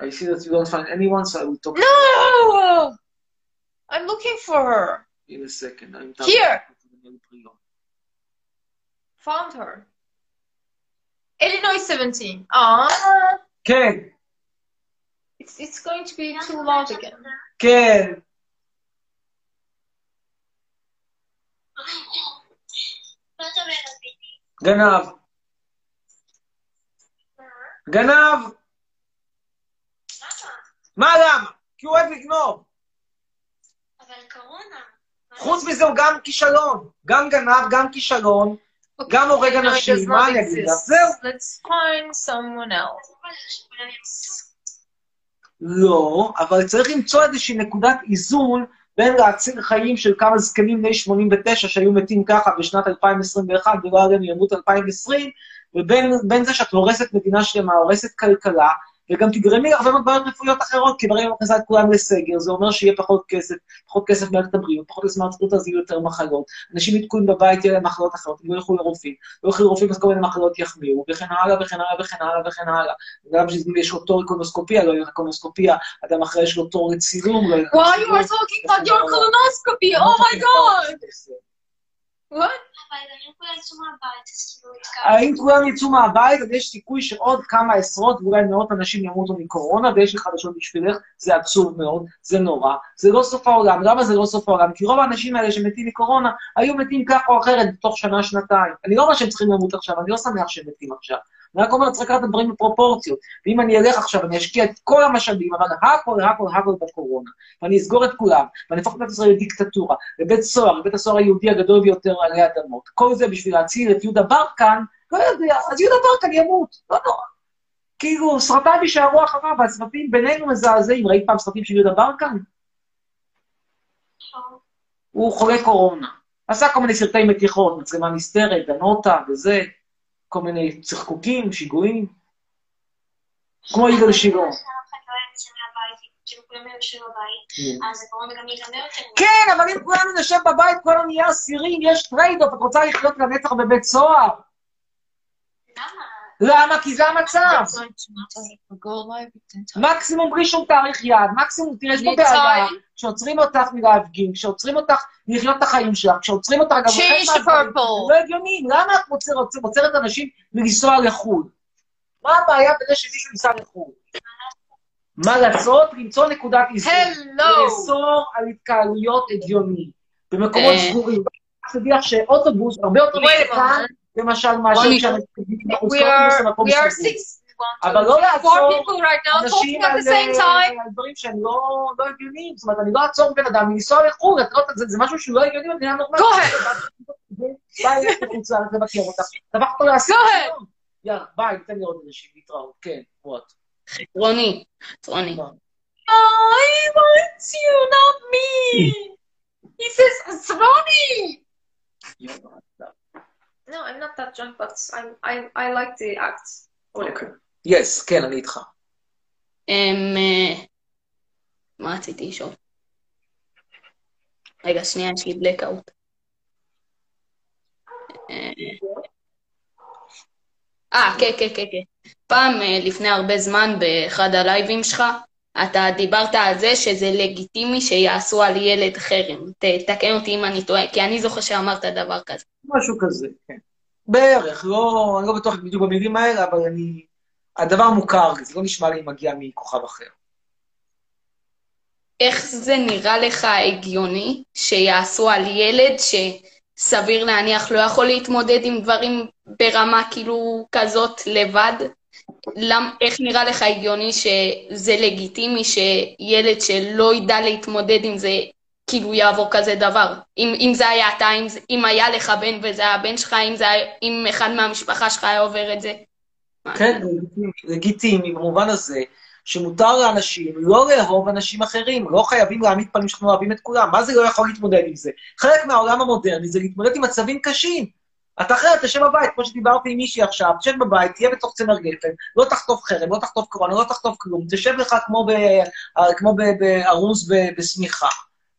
S1: I see that you don't find anyone, so I will talk
S17: No! I'm looking for her.
S1: in a second. I'm done.
S17: Here! Found her. Illinois 17. Ah,
S1: כן,
S17: it's, it's going to be too loud again.
S1: כן. גנב. גנב! מה למה? כי הוא אוהב לגנוב. חוץ מזה הוא גם כישלון. גם גנב, גם כישלון, גם הורג
S17: Illinois does
S1: אנשים, מה
S17: not
S1: אני אגיד לך?
S17: exist.
S1: זהו.
S17: Let's find someone else.
S1: לא, אבל צריך למצוא איזושהי נקודת איזון בין להציל חיים של כמה זקנים בני 89 שהיו מתים ככה בשנת 2021 ולא היה להם ימות 2020, ובין בין זה שאת הורסת מדינה שלמה, הורסת כלכלה, וגם תגרמי להרבה מאוד בעיות רפואיות אחרות, כי ברגע מכניסה את כולם לסגר, זה אומר שיהיה פחות כסף, פחות כסף במערכת הבריאות, פחות לזמן זכות, אז יהיו יותר מחלות. אנשים יתקועים בבית, יהיו להם מחלות אחרות, הם לא ילכו לרופאים, לא ילכו לרופאים, אז כל מיני מחלות יחמירו, וכן הלאה, וכן הלאה, וכן הלאה, וכן הלאה. גם שיש לו תור לקולונוסקופיה, לא יהיה לקולונוסקופיה, אדם אחרי יש לו תור לצילום, לא יהיה
S17: Wow, you are talking about your colonoscopy. Oh my god! What?
S1: האם כולם יצאו מהבית, אז יש סיכוי שעוד כמה עשרות ואולי מאות אנשים ימותו מקורונה, ויש לי חדשות בשבילך, זה עצוב מאוד, זה נורא. זה לא סוף העולם. למה זה לא סוף העולם? כי רוב האנשים האלה שמתים מקורונה, היו מתים כך או אחרת בתוך שנה, שנתיים. אני לא אומר שהם צריכים למות עכשיו, אני לא שמח שהם מתים עכשיו. אני רק אומר, צריך לקחת את הדברים בפרופורציות. ואם אני אלך עכשיו, אני אשקיע את כל המשאבים, אבל הכל, הכל, הכל בקורונה. ואני אסגור את כולם, ואני אהפוך את מדינת ישראל לדיקטטורה, לבית סוהר, לבית הסוהר היהודי הגדול ביותר עלי אדמות. כל זה בשביל להציל את יהודה ברקן, לא יודע, אז יהודה ברקן ימות, לא נורא. כאילו, סרטיו יישארו אחריו, והסרטים בינינו מזעזעים. ראית פעם סרטים של יהודה ברקן? הוא חולה קורונה. עשה כל מיני סרטי מתיחות, מצלמה נסתרת, דנוטה וזה, כל מיני צחקוקים, שיגועים. כמו יגאל שילה. כן, אבל אם כולנו נשב בבית, כולנו נהיה אסירים, יש טרייד-אוף, את רוצה לחיות לנצח בבית סוהר. למה? כי זה המצב. מקסימום בלי שום תאריך יעד, מקסימום, תראה, יש פה
S17: ניצן.
S1: בעיה, כשעוצרים אותך מלהפגין, כשעוצרים אותך מלחיות את החיים שלך, כשעוצרים אותך גם...
S17: Change
S1: לחלק
S17: the
S1: מהדברים,
S17: purple.
S1: זה לא הגיוני, למה את עוצר- עוצר- עוצרת אנשים מלנסוע לחו"ל? מה הבעיה בזה שמישהו ייסע לחו"ל? מה לעשות? למצוא נקודת איזון.
S17: Hello.
S1: לאסור על התקהלויות הגיוני. במקומות
S17: אה.
S1: סגורים. תדעי לך שאוטובוס הרבה יותר
S17: Wait a
S1: מסוכן, למשל, מאשר
S17: Wait.
S1: כשאנשים בחוץ,
S17: We
S1: אוטובוס
S17: are
S1: במקום
S17: we are
S1: סגור.
S17: six one,
S1: אבל
S17: two,
S1: לא
S17: three, four
S1: לעצור
S17: people right now talking
S1: אנשים
S17: at
S1: על אה,
S17: the same time.
S1: על דברים שהם לא לא הגיוניים. זאת אומרת, אני לא אעצור בן אדם מלנסוע לחו"ל, את לא- זה זה משהו שהוא לא הגיוני במדינה נורמלית.
S17: Go ahead.
S1: ביי, לך לחוצה, לבקר אותך. דבר פה לעשות.
S17: Go ahead.
S1: יאללה, ביי, ניתן לי עוד אנשים להתראות. כן, וואט.
S12: רוני, רוני.
S17: I want you, not me. He says it's Ronnie. No, I'm not that drunk, but I'm I I like the act.
S1: יס, כן, אני איתך.
S12: אמ... אה, מה רציתי לשאול? רגע, שנייה, יש לי blackout. אה, אה, כן, כן, כן, כן. פעם, אה, לפני הרבה זמן, באחד הלייבים שלך, אתה דיברת על זה שזה לגיטימי שיעשו על ילד חרם. ת- תקן אותי אם אני טועה, כי אני זוכר שאמרת דבר כזה.
S1: משהו כזה, כן. בערך, לא, אני לא בטוח בדיוק במילים האלה, אבל אני... הדבר מוכר, זה לא נשמע לי מגיע מכוכב אחר.
S12: איך זה נראה לך הגיוני שיעשו על ילד שסביר להניח לא יכול להתמודד עם דברים ברמה כאילו כזאת לבד? למ, איך נראה לך הגיוני שזה לגיטימי שילד שלא ידע להתמודד עם זה, כאילו יעבור כזה דבר? אם, אם זה היה אתה, אם, זה- אם היה לך בן וזה היה הבן שלך, אם, זה היה, אם אחד מהמשפחה שלך היה עובר את זה?
S1: כן, זה לגיטימי- לגיטימי במובן הזה שמותר לאנשים לא לאהוב אנשים אחרים, לא חייבים להעמיד פנים שאנחנו אוהבים את כולם. מה זה לא יכול להתמודד עם זה? חלק מהעולם המודרני זה להתמודד עם מצבים קשים. אתה אחרת, תשב בבית, כמו שדיברתי עם מישהי עכשיו, תשב בבית, תהיה בתוך צמר גפן, לא תחטוף חרם, לא תחטוף קורונה, לא תחטוף כלום, תשב לך כמו ב- כמו ב- בארוז ב- בשמיכה.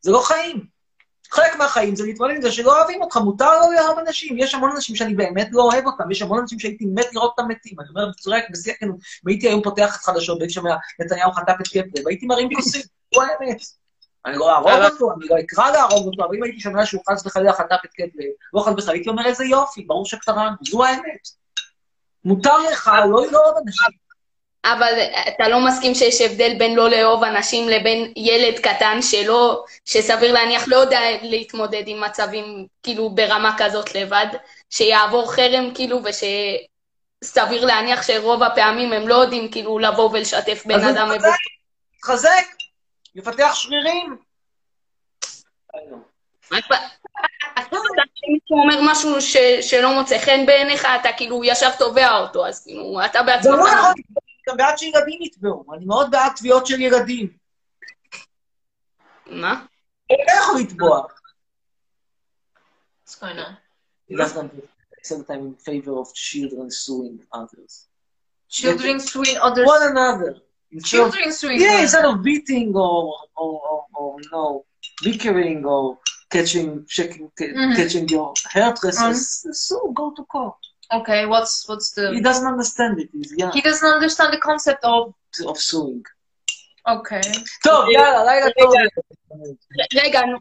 S1: זה לא חיים. חלק מהחיים זה להתמודד עם זה שלא אוהבים אותך, מותר לא לאהוב אנשים. יש המון אנשים שאני באמת לא אוהב אותם, יש המון אנשים שהייתי מת לראות אותם מתים. אני אומר בצורה, בשיא הכנות, והייתי היום פותח את חדשות, והייתי שומע, נתניהו חטף את קפלר, והייתי מרים כוסים, זו האמת. אני לא אהרוג אותו, אני לא אקרא להרוג אותו, אבל אם הייתי שומע שהוא חס וחלילה חטף את קפלר, לא חס וחלילה, הייתי אומר, איזה יופי, ברור שקראנו, זו האמת. מותר לך לא לאהוב אנשים.
S12: אבל אתה לא מסכים שיש הבדל בין לא לאהוב אנשים לבין ילד קטן שלא, שסביר להניח לא יודע להתמודד עם מצבים כאילו ברמה כזאת לבד, שיעבור חרם כאילו ושסביר להניח שרוב הפעמים הם לא יודעים כאילו לבוא ולשתף בן
S1: אז
S12: אדם
S1: הוא
S12: מבוגר.
S1: מתחזק, יפתח שרירים.
S12: רק ב- אתה יודע שמישהו אומר משהו ש- שלא מוצא חן בעיניך, אתה כאילו ישר תובע אותו, אז כאילו אתה
S1: זה
S12: בעצמך...
S1: לא יכול להיות, אני גם בעד שילדים יתבעו, אני מאוד בעד תביעות של ילדים.
S12: מה?
S1: אתה לא יכול לתבוע.
S12: What's going on?
S1: Sometimes in favor of children suing others.
S17: Children
S1: suing others. One another. Instead of-
S17: Children suing
S1: Yeah,
S17: one
S1: instead of beating or, or, or, or no, bickering or catching, checking, ca-
S17: Mhm.
S1: catching your hairdressers.
S17: So go to court. Okay, what's what's the?
S1: He doesn't understand it. He's young.
S17: He doesn't understand the concept of.
S1: Of suing.
S17: Okay.
S1: טוב, יאללה, לילה טוב.
S12: רגע, נו.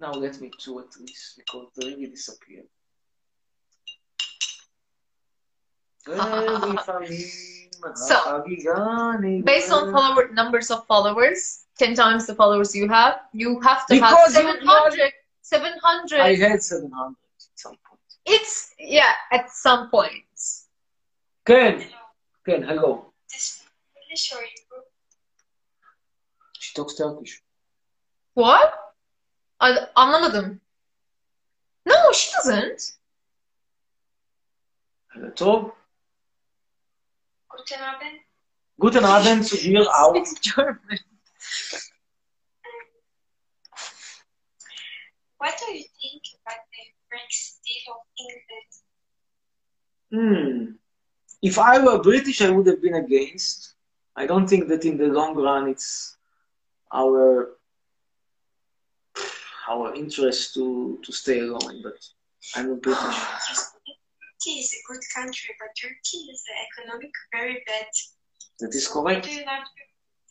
S1: Now let me two at least, because they really disappeared.
S17: So, based on follower numbers of followers, ten times the followers you have, you have to
S1: Because you
S17: have 700, 700
S1: I had 700.
S17: It's yeah, at some point.
S1: כן, כן, הלו. She talks Turkish.
S17: What? I, anlamadım. No, she doesn't.
S1: טוב. Guten Abend zu dir
S17: Oh.
S1: auch.
S5: What do you think about the Brexit deal of England?
S1: Hmm. If I were British, I would have been against. I don't think that in the long run it's our our interest to, to stay alone, but I'm a British.
S5: Turkey is a good country, but Turkey is an economic very bad.
S1: That is
S5: So why
S1: correct.
S5: do you not,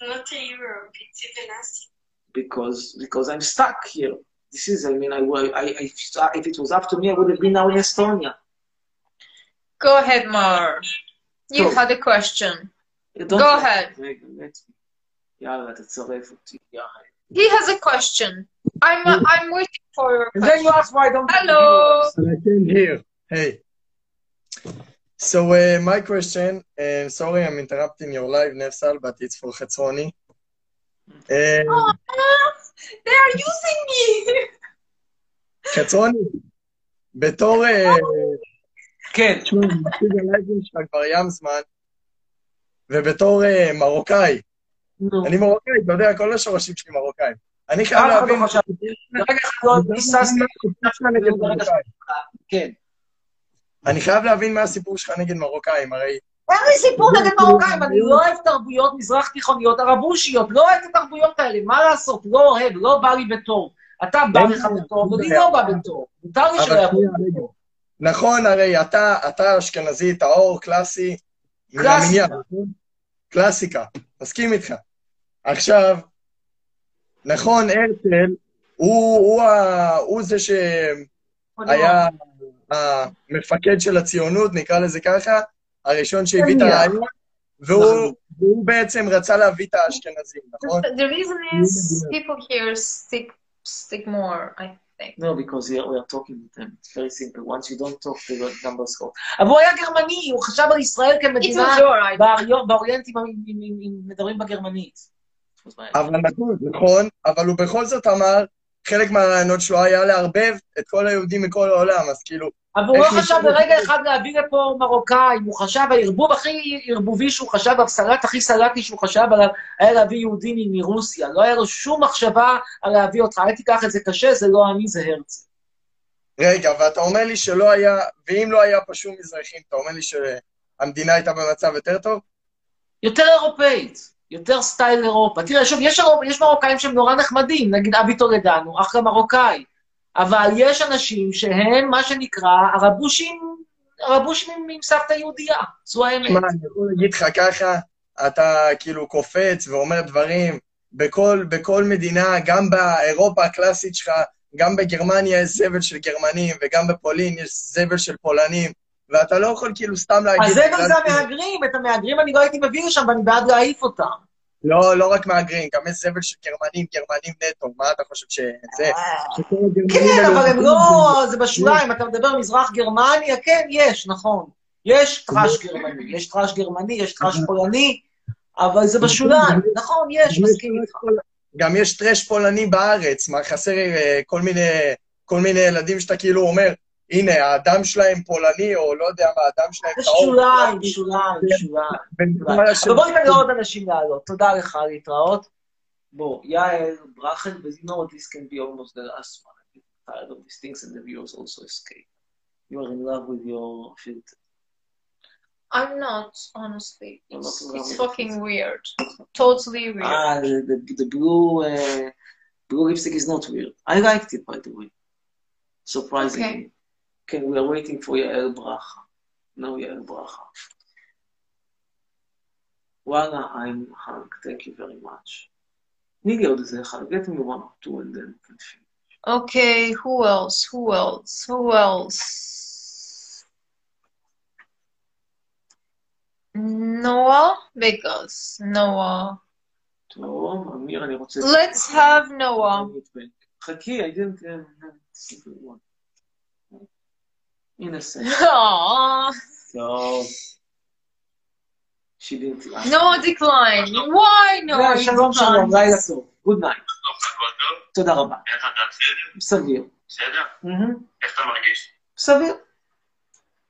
S5: not a Europe, it's even us.
S1: because because I'm stuck here. This is, I mean, I, wa- I, I if it was up to me, I would have been now in Estonia.
S17: Go ahead, Mar. You
S1: Go.
S17: had a question.
S1: Don't-
S17: Go ahead.
S1: רגע, let me. יאללה, תצרף אותי, יאללה.
S17: He has a question. I'm I'm waiting for your
S1: question. Then you ask why don't
S17: Hello.
S18: I came here. Hey. So uh, my question, uh, sorry I'm interrupting your live, Nefsal, but it's for Chetzroni.
S2: Oh.
S18: Um,
S17: They are using me.
S18: חצרוני, בתור... אה,
S1: כן.
S18: תשמע, אני מקשיב ללייבים שלך כבר ים זמן, ובתור אה, מרוקאי, אני מרוקאי, אתה יודע, כל השורשים שלי מרוקאים. אני חייב
S1: אף אחד
S18: להבין...
S1: לא חשב. רגע אחד לא ביססתי. כן.
S18: אני חייב להבין מה הסיפור שלך נגד מרוקאים, הרי...
S1: אין לי סיפור נגד מרוקאים, אני לא אוהב תרבויות מזרח תיכוניות, ערבושיות, לא אוהב את התרבויות האלה, מה לעשות, לא אוהב, לא בא לי בטוב. אתה בא
S18: אין
S1: לך
S18: לי
S1: בטוב,
S18: בעיה.
S1: ולי לא בא בטוב. מותר לי
S18: אבל
S1: שלא יבוא.
S18: שנייה, רגע. נכון, הרי אתה, אתה אשכנזי, טהור, קלאסי, מן
S1: קלאסיקה.
S18: המניין, נכון? קלאסיקה, מסכים איתך. עכשיו, נכון, הרצל, הוא, הוא, ה- הוא זה שהיה המפקד של הציונות, נקרא לזה ככה, הראשון שהביא את הרעיון, והוא והוא בעצם רצה להביא את האשכנזים, נכון?
S2: The reason is people here stick stick more. I think.
S1: No, because we are, we are talking with them. It's very simple. Once you don't talk, the numbers go. אבל הוא היה גרמני, הוא חשב על ישראל כמדינה
S2: It's not your idea.
S1: באריו- באוריינטים אם- אם- אם- אם מדברים בגרמנית.
S18: אבל נכון, נכון, אבל הוא בכל זאת אמר, חלק מהרעיונות שלו היה לערבב את כל היהודים מכל העולם, אז כאילו...
S1: אבל הוא לא
S18: איך
S1: חשב
S18: ניסו-
S1: ברגע אחד להביא לפה מרוקאים, הוא חשב, הערבוב הכי ערבובי שהוא חשב, הסלט הכי סלטי שהוא חשב עליו, היה להביא יהודי מרוסיה. לא היה לו שום מחשבה על להביא אותך, אל תיקח את זה קשה, זה לא אני, זה הרצל.
S18: רגע, ואתה אומר לי שלא היה, ואם לא היה פה שום מזרחים, אתה אומר לי שהמדינה הייתה במצב יותר טוב?
S1: יותר אירופאית, יותר סטייל אירופה. תראה, שוב, יש, אירופ... יש מרוקאים שהם נורא נחמדים, נגיד אבי טולדנו, אחלה מרוקאי. אבל יש אנשים שהם מה שנקרא הרבושים, הרבושים עם, עם סבתא יהודייה, זו האמת.
S18: מה, אני יכול להגיד לך ככה, אתה כאילו קופץ ואומר דברים, בכל, בכל מדינה, גם באירופה הקלאסית שלך, גם בגרמניה יש זבל של גרמנים, וגם בפולין יש זבל של פולנים, ואתה לא יכול כאילו סתם להגיד...
S1: הזבל זה המהגרים, את המהגרים אני לא הייתי מביא לשם, ואני בעד להעיף אותם.
S18: לא, לא רק מהגרים, גם יש זבל של גרמנים, גרמנים נטו, מה אתה חושב שזה?
S1: אה.
S18: שכל הגרמנים
S1: כן,
S18: האלו-
S1: אבל הם לא, זה בשוליים, אתה מדבר מזרח גרמניה, כן, יש, נכון. יש טראש גרמני, יש טראש גרמני, יש טראש פולני, אבל זה בשוליים, נכון, יש, מסכים איתך.
S18: גם יש טרש פולני בארץ, מה חסר אה, כל מיני, כל מיני ילדים שאתה כאילו אומר, הנה, האדם שלהם פולני, או לא יודע מה, האדם שלהם
S1: זה שוליים, שוליים, שוליים. שוליים. אבל בואו ניתן לעוד אנשים לעלות. תודה לך, להתראות. בוא, יעל, ברכן, ו- you know this can be almost the last one. I'm tired of these things and the viewers also escape. You are in love with your filter.
S2: I'm not, honestly.
S1: You're
S2: It's,
S1: not in love
S2: it's
S1: with it.
S2: fucking weird. Totally weird.
S1: Ah, the, the, the blue uh, blue lipstick is not weird. I liked it, by the way. Surprisingly. Okay, we are waiting for Yael Bracha. Now Yael Bracha. Voila, I'm hung. Thank you very much. ניגי עוד איזה אחד. Get me one or two and then finish.
S2: Okay, who else? Who else? Who else? Noah? Because Noah.
S1: טוב, אמיר, אני רוצה...
S2: Let's have Noah.
S1: חכי, I didn't... uh, single one. Innocent.
S2: Aww.
S1: טוב. She didn't...
S2: Noah decline. Why Noah?
S1: לא, שלום, שלום,
S2: declined?
S1: לילה טוב. גוד נייט. תודה רבה.
S16: איך אתה בסדר?
S1: סביר.
S16: בסדר?
S1: מהמם.
S16: איך אתה מרגיש?
S1: סביר.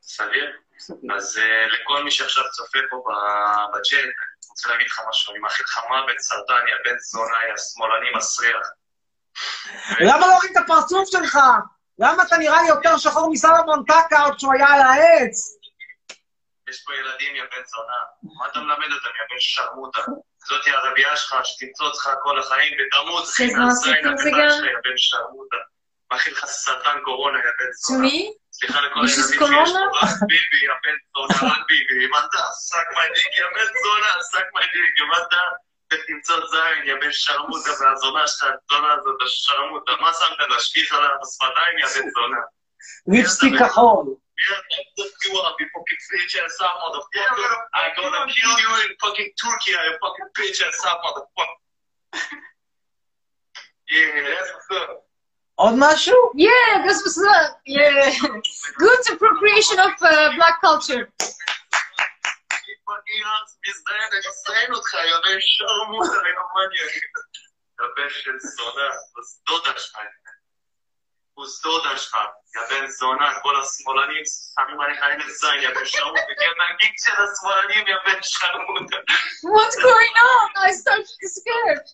S16: סביר? אז אה, לכל מי שעכשיו צופה פה ב- בצ'אט, אני רוצה להגיד לך משהו, אני מאחל לך מוות, סרטן, יא בן זונה, יא שמאלני מסריח.
S1: למה לא רואים את הפרצוף שלך? למה אתה נראה לי יותר שחור מסלומון טקה עוד שהוא היה על העץ?
S16: יש פה ילדים, יא בן זונה. מה אתה מלמד אותם, יא בן שרמוטה? זאת היא הרבייה שלך, שתמצא אותך כל החיים, ותמות, אחי,
S2: Says
S16: מהזין
S2: nothing,
S16: הקטן
S2: again.
S16: שלך, יא בן שרמוטה. מאחל לך סרטן קורונה, יא בן
S2: To
S16: זונה.
S2: me?
S16: סליחה לכל
S2: This
S16: הילדים
S2: is
S16: שיש
S2: Corona?
S16: פה, רק ביבי, יא בן זונה, רק ביבי. אם אתה סק מי דיק, יא בן זונה, סק מי דיק. אם אתה תמצא זין, יא בן שרמוטה, והזונה שלך, הזונה הזאת, השרמוטה. מה שמת להשגיח עליו בשפתיים, יא בן זונה?
S1: ליפסטיק כחול.
S16: Yeah, I look you up, you fucking bitch ass out motherfucker. I'm gonna kill you in fucking Turkey, you fucking bitch ass out motherfucker. Yeah, that's what's up.
S1: עוד משהו?
S2: Yeah, this was uh, yeah. Good appropriation of uh, black culture.
S16: מזדיין, אני מזדיין אותך, יא בן שרמוטה, יא מניאק. יא בן לא של זונה, אז דודה שלך. פוס דודה שלך, יא בן זונה, כל השמאלנים שמים עליך עין זין, יא בן שרמוטה, יא נגיג של השמאלנים, יא בן שרמוטה.
S2: What's going on? I start scared.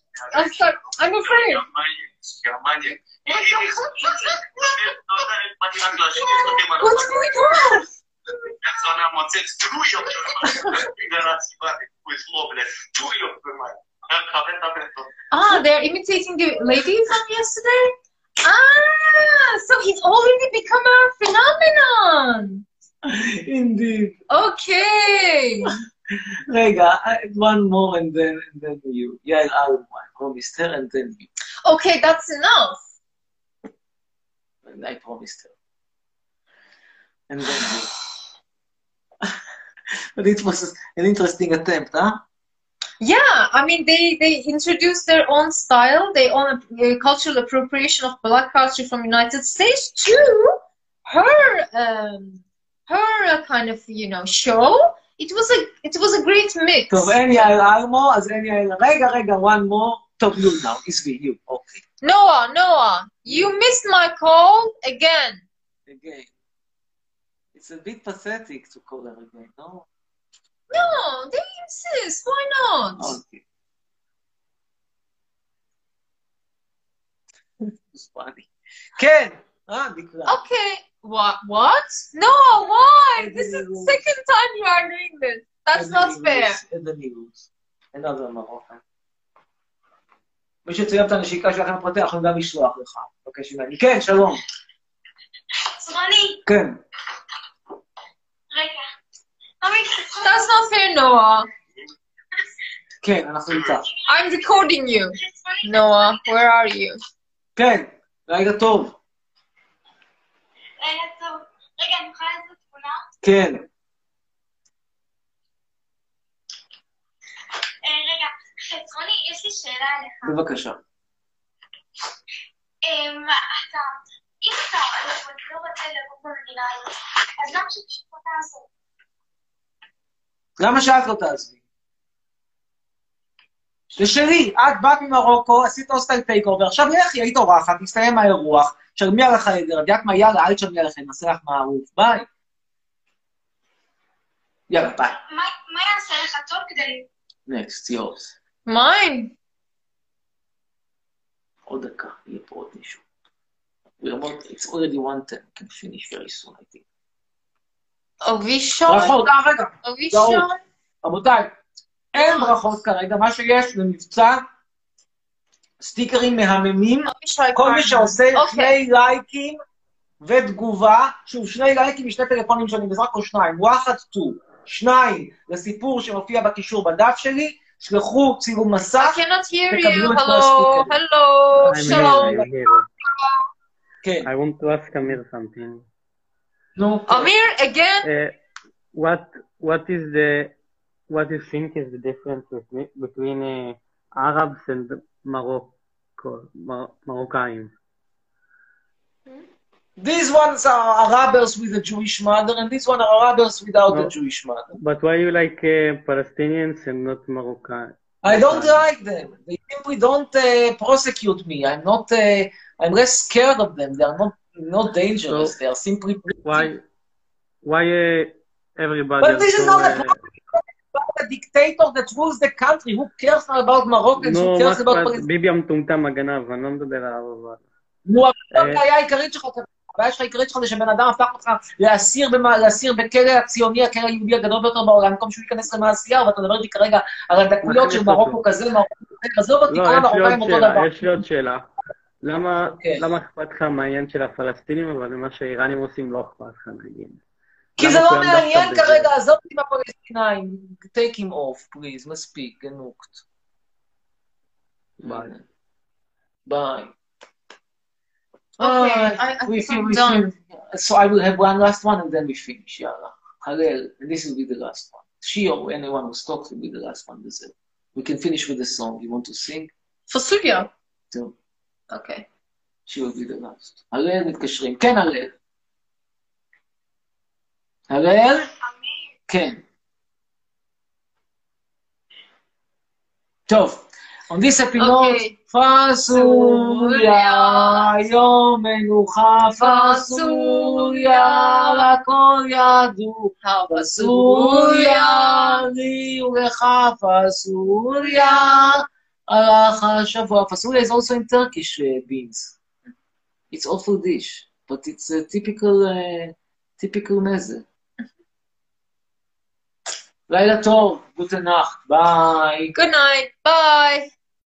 S2: I start. I'm afraid.
S16: יא מניאק, יא מניאק. הנה, זונה, באתי רק להשתיק אותי, מה
S2: What's
S16: אתה-
S2: going on?
S16: זונה מוצץ, תנו יופי, בגלל הסיבה, הוא יזמור, תנו יופי, מה? תכבד את הבן זונה.
S2: Ah, they're imitating the lady from yesterday. Ah, so he's already become a phenomenon.
S1: Indeed.
S2: Okay.
S1: רגע, one more and then, and then you. יעל אלמן, promised her and then you.
S2: Okay, that's enough.
S1: And I promised her. And then you. an interest- an interesting attempt, huh?
S2: Yeah, I mean, they they introduce their own style, their own uh, cultural appropriation of black culture from United States to her um, her uh, kind of you know show. It was a it was a great mix.
S1: טוב, אין יעל אלמו, אז אין יעל... רגע, רגע, one more. טוב, you now, it's me, you, Oh, אוקיי.
S2: Noah, Noah, you missed my call again.
S1: Again. It's a bit pathetic to call her again, no?
S2: No, they insist. Why not?
S1: Okay. It's funny. Ah, כן, אה, נקלע.
S2: Okay. What? What? No, why? This is the second time you are doing this. That's not fair.
S1: איזה נימוס. another Moroccan. מי שצייב את הנשיקה שלכם פרטי, אנחנו גם לשלוח לך. בבקשה ממני. כן, שלום.
S5: סרני,
S1: כן.
S5: רגע. תמיד חסר.
S2: That's not fair, Noah.
S1: כן, אנחנו איתך.
S2: I'm recording you. Noah, where are you?
S1: כן, רגע טוב.
S5: רגע, טוב. רגע, אני יכולה לעשות תמונה?
S1: כן.
S5: אה, רגע, חסרוני, יש לי שאלה אליך.
S1: בבקשה.
S5: אמ, אתה, אם אתה לא רוצה לגור במדינה הזאת, אז למה שפשוט לא תעזור?
S1: למה שאת לא תעזבי? זה שלי, את באת ממרוקו, עשית הוסטל טייק אובר, עכשיו לכי, היית אורחת, מסתיים האירוח, שרמי עליך עדר, את יודעת מה, יאללה, אל תשרמי עליך, נעשה לך מערוף, ביי. יאללה, ביי,
S5: מה- מה יעשה לך טוב כדי...
S1: נקסט, יורס.
S2: Mine.
S1: עוד דקה, יהיה פה עוד מישהו. We are about, it's already one ten, כן, we can finish very soon, I think.
S2: Are we
S1: ברכות,
S2: sure?
S1: אה, רגע,
S2: Are we
S1: טעות.
S2: sure?
S1: רבותיי, אין ברכות כרגע, מה שיש זה מבצע סטיקרים מהממים, כל
S2: אוקיי.
S1: מי שעושה שני לייקים ותגובה, שוב, שני לייקים משני טלפונים שונים, אז רק פה שניים, וואחד טו, שניים לסיפור שמופיע בקישור בדף שלי, שלחו צילום
S2: I
S1: מסך,
S2: cannot hear
S1: Take a
S2: you.
S1: blue
S2: Hello,
S1: plastic.
S2: hello, shalom.
S1: I
S19: want to ask Amir something.
S1: No.
S2: Amir, again?
S19: Uh, what what is the what do you think is the difference between, between uh, Arabs and Morocco Mar- Moroccan?
S1: These ones are Arabers with a Jewish mother, and these one are Arabers without a Jewish mother.
S19: But why you like uh, Palestinians and not Moroccan?
S1: I don't like them. They simply don't uh, prosecute me. I'm not. Uh, I'm less scared of them. They are not not dangerous. they are simply.
S19: Why why uh, everybody?
S1: But this
S19: so,
S1: is not a
S19: uh,
S1: problem. About a dictator that rules the country. Who cares now about Moroccans?
S19: נו, מה
S1: Who cares about
S19: אכפת?
S1: Palestinians?
S19: ביבי המטומטם הגנב, אני לא מדבר עליו, אבל...
S1: נו, אבל
S19: אה,
S1: זאת הבעיה העיקרית שלך. הבעיה שלך העיקרית שלך זה שבן אדם הפך אותך לאסיר במה- לאסיר בכלא הציוני, הכלא היהודי הגדול ביותר בעולם, במקום שהוא ייכנס למעשייה, ואתה מדבר איתי כרגע על הדקויות של
S19: מחליף אותו.
S1: מרוקו כזה, מרוקו כזה, עזוב אותי,
S19: לא,
S1: כל
S19: יש לי
S1: המרוקאים
S19: עוד
S1: אותו
S19: שאלה,
S1: דבר.
S19: יש לי עוד שאלה. למה למה אכפת לך מהעניין של הפלסטינים, אבל ממה שהאיראנים עושים לא אכפת לך, נגיד?
S1: כי
S19: למה
S1: זה לא
S19: כולם דווקא
S1: מעניין
S19: בזה?
S1: כרגע, עזוב אותי מהפלסטינאים. take him off, please, מספיק, גנוקט. ביי. ביי.
S2: Okay,
S1: Ah,
S2: I- I
S1: we
S2: think I'm
S1: feel- we
S2: done.
S1: feel- So I will have one last one and then we finish, יאללה. הלל, this will be the last one. She or anyone who's talked will be the last one, that's it. We can finish with the song. You want to sing?
S2: Fasulya.
S1: So
S2: Okay.
S1: she will be the last. הלל מתקשרים. כן, הלל. הלל? כן. טוב, on this happy note, פסוליה, יום מנוחה, פסוליה, לכל ידעו, פסוליה, לי ולך פסוליה, הלך השבוע. פסוליה is also in Turkish uh, beans. It's awful dish, but it's a typical, uh, typical meze. לילה טוב, גוטנאך, ביי.
S2: Good night. Bye.